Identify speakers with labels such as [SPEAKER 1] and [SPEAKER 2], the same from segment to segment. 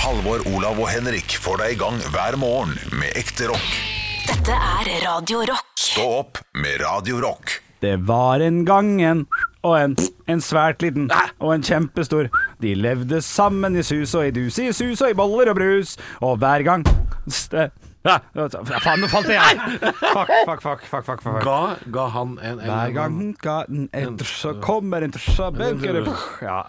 [SPEAKER 1] Halvor, Olav og Henrik får deg i gang hver morgen med ekte rock.
[SPEAKER 2] Dette er Radio Rock.
[SPEAKER 1] Stå opp med Radio Rock.
[SPEAKER 3] Det var en gang en og en, en svært liten og en kjempestor. De levde sammen i sus og i dus, i sus og i boller og brus. Og hver gang ste- Ja, Faen, nå falt jeg! Fuck, fuck, fuck. fuck, fuck, fuck.
[SPEAKER 4] Ga, ga han en, en
[SPEAKER 3] Hver gang ga en etter, så kommer en så benker det- ja.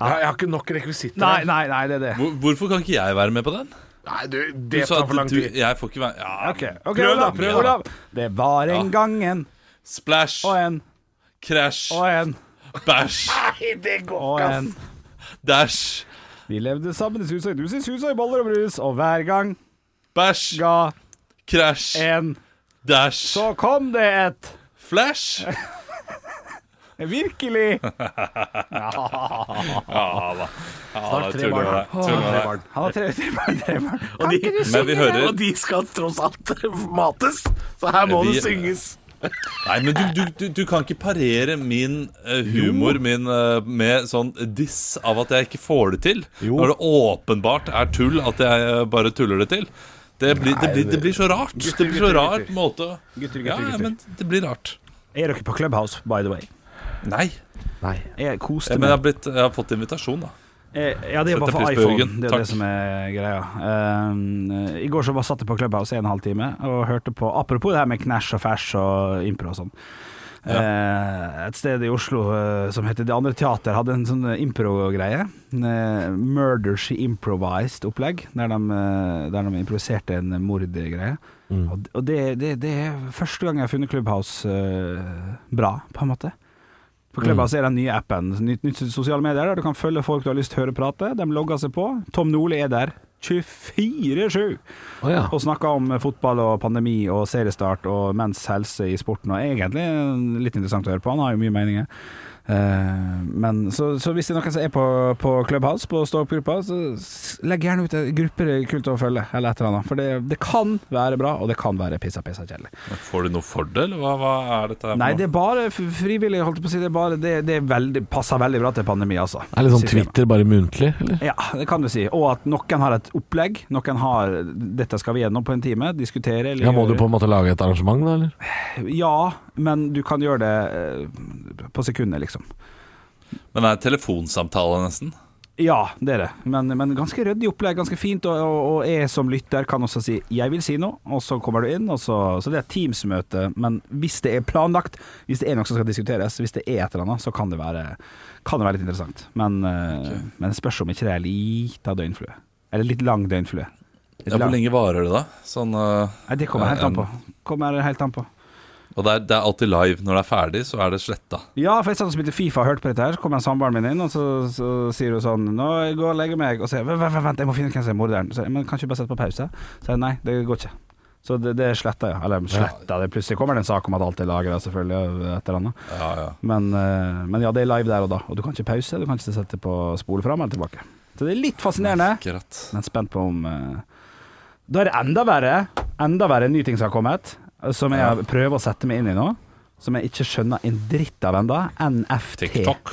[SPEAKER 4] Ja, jeg har ikke nok rekvisitter.
[SPEAKER 3] Nei, nei, nei, det er det.
[SPEAKER 5] Hvor- Hvorfor kan ikke jeg være med på den?
[SPEAKER 4] Nei, du,
[SPEAKER 5] Du
[SPEAKER 4] det
[SPEAKER 5] sa
[SPEAKER 4] tar
[SPEAKER 5] at
[SPEAKER 4] for lang
[SPEAKER 5] du-
[SPEAKER 4] tid.
[SPEAKER 5] Jeg får ikke være ja.
[SPEAKER 3] Ok, ok,
[SPEAKER 5] Prøv, da.
[SPEAKER 3] Olav,
[SPEAKER 5] Prøv, da.
[SPEAKER 3] Olav. Det var en
[SPEAKER 5] Ja.
[SPEAKER 3] gang en
[SPEAKER 5] Splash,
[SPEAKER 3] og en
[SPEAKER 5] crash,
[SPEAKER 3] og en
[SPEAKER 5] bæsj,
[SPEAKER 4] Nei, det går
[SPEAKER 3] og
[SPEAKER 4] ikke,
[SPEAKER 3] en.
[SPEAKER 4] ass.
[SPEAKER 5] dæsj,
[SPEAKER 3] De levde sammen i sus og i dus, i sus og i boller og brus. Og hver gang
[SPEAKER 5] bæsj,
[SPEAKER 3] ga
[SPEAKER 5] crash,
[SPEAKER 3] en
[SPEAKER 5] dæsj,
[SPEAKER 3] Så kom det et
[SPEAKER 5] flash.
[SPEAKER 3] Virkelig!
[SPEAKER 5] Ja da. Ja, da
[SPEAKER 4] tre
[SPEAKER 5] tuller
[SPEAKER 4] barn.
[SPEAKER 5] jeg. Tuller jeg.
[SPEAKER 3] Han har tre, tre barn, tre barn.
[SPEAKER 4] Og de,
[SPEAKER 5] Men vi hører
[SPEAKER 4] og de skal tross alt mates, så her må
[SPEAKER 5] Vi-
[SPEAKER 4] det synges.
[SPEAKER 5] Nei, men du, du, du, du kan ikke parere min eh, humor min, eh, med sånn diss av at jeg ikke får det til. Når det åpenbart er tull at jeg eh, bare tuller det til. Det blir, det blir, det blir så rart. det blir så rar måte å
[SPEAKER 3] Gutter, gutter,
[SPEAKER 5] Ja, ja,
[SPEAKER 3] gutter.
[SPEAKER 5] men det blir rart.
[SPEAKER 3] Er dere på Clubhouse, by the way?
[SPEAKER 5] Nei.
[SPEAKER 3] Jeg koste
[SPEAKER 5] Men jeg har,
[SPEAKER 3] meg.
[SPEAKER 5] blitt, jeg har fått invitasjon, da.
[SPEAKER 3] Eh, Ja, det er bare
[SPEAKER 5] Setter
[SPEAKER 3] for
[SPEAKER 5] pris på
[SPEAKER 3] iPhone.
[SPEAKER 5] Jørgen.
[SPEAKER 3] Det er jo
[SPEAKER 5] Takk.
[SPEAKER 3] det som er greia. Um, eh, I går så bare satt jeg på Clubhouse i en halv time og hørte på Apropos det her med knæsj og fæsj og impro og sånn. Eh, et sted i Oslo eh, som heter Det andre teater, hadde en sånn eh, impro-greie. Eh, murder she improvised-opplegg, der, de, eh, der de improviserte en mordgreie.
[SPEAKER 5] Mm.
[SPEAKER 3] Og, og det, det, det er første gang jeg har funnet Clubhouse eh, bra, på en måte. På Clubhouse er den nye appen. Nytt, nytt sosiale medier der Du kan følge folk du har lyst til å høre prate. De logger seg på. Tom Nordli er der 24-7 og snakker om fotball og pandemi og seriestart og menns helse i sporten. Og egentlig eh, litt interessant å høre på. Han har jo mye meninger. Eh, men så, så hvis det er noen som er på, på Clubhouse, på stå-opp-gruppa, så s- legg gjerne ut en gruppe det er kult å følge, eller et eller annet. For det, det kan være bra, og det kan være pissa-pissa kjedelig.
[SPEAKER 5] Får de noe for det, eller hva, hva er dette her? for
[SPEAKER 3] Nei,
[SPEAKER 5] noe?
[SPEAKER 3] det er bare f- frivillig, holdt jeg på å si. Det, er bare, det, det er veldig, passer veldig bra til pandemi, altså.
[SPEAKER 6] Er litt sånn
[SPEAKER 3] Systemet.
[SPEAKER 6] Twitter, bare muntlig? Eller?
[SPEAKER 3] Ja, det kan du si. Og at noen har et opplegg. Noen har 'dette skal vi gjennom på en time', diskutere eller
[SPEAKER 6] Ja, må du
[SPEAKER 3] gjøre-
[SPEAKER 6] på en måte lage et arrangement, da? Eller?
[SPEAKER 3] Ja, men du kan gjøre det eh, på sekundet, liksom.
[SPEAKER 5] Men det er telefonsamtale, nesten.
[SPEAKER 3] Ja, det er det. Men, men ganske ryddig opplegg, ganske fint. Og, og, og jeg som lytter kan også si 'jeg vil si noe', og så kommer du inn. Og så, så det er et Teams-møte. Men hvis det er planlagt, hvis det er noe som skal diskuteres, hvis det er et eller annet, så kan det være, kan det være litt interessant. Men, eh, men det spørs om ikke det er lita døgnflue. Eller litt lang døgnflue. Litt
[SPEAKER 5] Ja, hvor
[SPEAKER 3] lang.
[SPEAKER 5] lenge varer det, da? Sånn, eh,
[SPEAKER 3] Nei, det kommer helt an på.
[SPEAKER 5] en-
[SPEAKER 3] Kommer helt an på.
[SPEAKER 5] og det er, det er alltid live. Når det er ferdig, så er det sletta.
[SPEAKER 3] Ja, for jeg satt og spilte Fifa og hørte på dette her, så kom en samboeren min inn, og så, så sier hun sånn Nå jeg går og legger meg, og så sier jeg, vent, vent, vent, jeg må finne ut hvem som er morderen. Så, jeg, Men kan ikke du bare sette på pause? Så jeg nei, det går ikke. Så det, det er sletta, ja. Eller sletta, det plutselig kommer det en sak om at alt er lagra, selvfølgelig, og et eller annet.
[SPEAKER 5] Ja, ja.
[SPEAKER 3] Men, eh, men ja, det er live der og da, og du kan ikke pause, du kan ikke sette på spole fram eller tilbake. Så det er litt fascinerende,
[SPEAKER 5] Akkurat.
[SPEAKER 3] men spent på om eh, Da er det enda verre, enda verre en ny ting som har kommet, som jeg prøver å sette meg inn i nå. Som jeg ikke skjønner en dritt av enda NFT.
[SPEAKER 5] TikTok.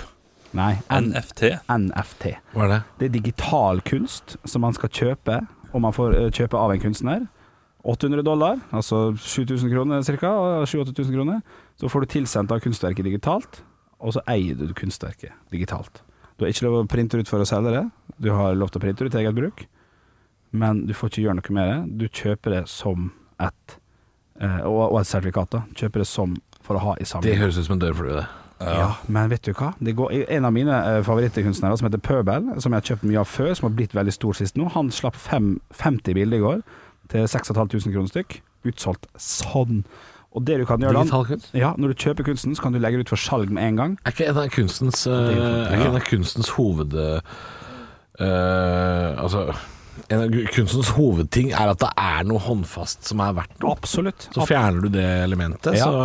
[SPEAKER 3] Nei, N
[SPEAKER 5] NFT.
[SPEAKER 3] NFT.
[SPEAKER 6] Hva er det?
[SPEAKER 3] Det er digital kunst som man skal kjøpe, og man får eh, kjøpe av en kunstner. 800 dollar, altså 7000 kroner ca. 7000-8000 kroner. Så får du tilsendt av kunstverket digitalt, og så eier du kunstverket digitalt. Du har ikke lov å printe ut for å selge det, du har lov til å printe ut til eget bruk, men du får ikke gjøre noe med det. Du kjøper det som et eh, Og og et sertifikat, da. Kjøper det som for å ha i
[SPEAKER 6] Det
[SPEAKER 3] samling.
[SPEAKER 6] høres ut som en dørflue, det.
[SPEAKER 3] Ja, men vet du hva? Det går, en av mine eh, favorittkunstnere som heter Pøbel, som jeg har kjøpt mye av før, som har blitt veldig stor sist nå, han slapp fem, 50 bilder i går til 6500 kroner stykk. Utsolgt sånn. Og det du kan gjøre da
[SPEAKER 6] Digital kunst?
[SPEAKER 3] ja, Når du kjøper kunsten, så kan du legge det ut for salg med en gang.
[SPEAKER 6] Er ikke en av kunstens, eh,
[SPEAKER 3] Det er jo
[SPEAKER 6] er ikke en av kunstens hoved... eh, altså En av gu- kunstens hovedting er at det er noe håndfast som er verdt noe.
[SPEAKER 3] Absolutt.
[SPEAKER 6] Så fjerner du det elementet,
[SPEAKER 3] Ja.
[SPEAKER 6] så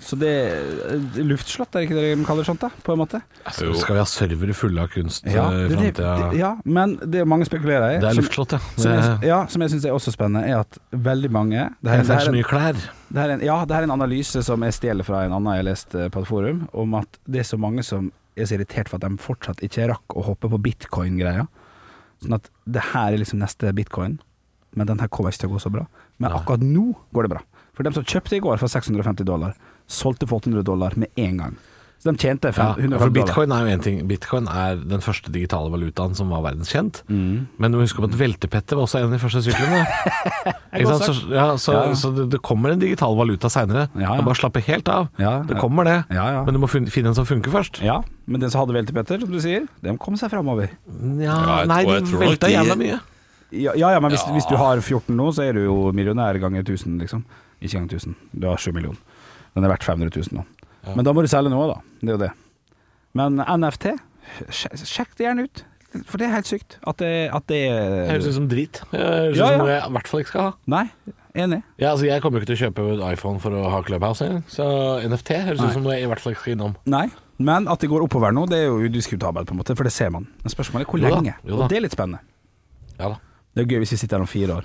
[SPEAKER 3] Så det eh, Luftslott, er det ikke det de kaller det sånt, da? På en måte?
[SPEAKER 6] altså, skal vi ha servere fulle av kunst eh, i
[SPEAKER 3] det, det,
[SPEAKER 6] framtida.
[SPEAKER 3] det, ja men det mange spekulerer i.
[SPEAKER 6] Det er
[SPEAKER 3] som-
[SPEAKER 6] luftslott, ja.
[SPEAKER 3] Som jeg,
[SPEAKER 6] Det,
[SPEAKER 3] ja, som jeg syns er også spennende, er at veldig mange Det
[SPEAKER 6] det
[SPEAKER 3] her-
[SPEAKER 6] er
[SPEAKER 3] her
[SPEAKER 6] så
[SPEAKER 3] en-
[SPEAKER 6] mye klær.
[SPEAKER 3] Det her er en, ja, det her er en analyse som jeg stjeler fra en annen jeg leste på et forum, om at det er så mange som er så irritert for at de fortsatt ikke rakk å hoppe på bitcoin-greia. Sånn at det her er liksom neste bitcoin, men den her kommer ikke til å gå så bra. Men akkurat nå går det bra. For dem som kjøpte i går for 650 dollar, solgte for 800 dollar med en gang. Så de tjente
[SPEAKER 6] Ja,
[SPEAKER 3] 500
[SPEAKER 6] for
[SPEAKER 3] dollar.
[SPEAKER 6] bitcoin er jo en ting. Bitcoin er den første digitale valutaen som var verdenskjent.
[SPEAKER 3] Mm.
[SPEAKER 6] Men du må huske på at veltepettet var også en av de første syklene. Ikke sant? Så, ja, så,
[SPEAKER 3] Ja.
[SPEAKER 6] så det, det kommer en digital valuta seinere.
[SPEAKER 3] Ja, ja.
[SPEAKER 6] Bare slappe helt av.
[SPEAKER 3] Ja,
[SPEAKER 6] det
[SPEAKER 3] ja.
[SPEAKER 6] kommer det.
[SPEAKER 3] Ja, ja.
[SPEAKER 6] Men du må fin- finne en som funker først.
[SPEAKER 3] Ja, men den som hadde veltepetter, som du sier, dem kom seg framover.
[SPEAKER 6] Nja,
[SPEAKER 5] jeg
[SPEAKER 6] nei,
[SPEAKER 5] tror-
[SPEAKER 6] det
[SPEAKER 5] jeg tror nok
[SPEAKER 6] velta
[SPEAKER 5] de-
[SPEAKER 6] jævla mye.
[SPEAKER 3] Ja, ja, ja men hvis, hvis du har 14 nå, så er du jo millionær ganger 1000, liksom. Ikke ganger 1000. Du har 7 millioner. Den er verdt 500 000 nå. Men da må du selge noe, da. Det er jo det. Men NFT, sj- sjekk det gjerne ut. For det er helt sykt at det, at det
[SPEAKER 6] Det høres ut som drit. Det Høres ut
[SPEAKER 3] Ja,
[SPEAKER 6] som
[SPEAKER 3] ja.
[SPEAKER 6] noe jeg i hvert fall ikke skal ha.
[SPEAKER 3] Nei, enig.
[SPEAKER 6] Ja, altså, jeg kommer jo ikke til å kjøpe en iPhone for å ha Clubhouse engang. Så NFT høres ut som noe jeg i hvert fall ikke skal innom.
[SPEAKER 3] Nei. Men at det går oppover nå, det er jo udiskutabelt, på en måte, for det ser man. Men spørsmålet er hvor
[SPEAKER 6] Jo da,
[SPEAKER 3] lenge.
[SPEAKER 6] jo da.
[SPEAKER 3] Og det er litt spennende.
[SPEAKER 6] Ja da.
[SPEAKER 3] Det er gøy hvis vi sitter her om fire år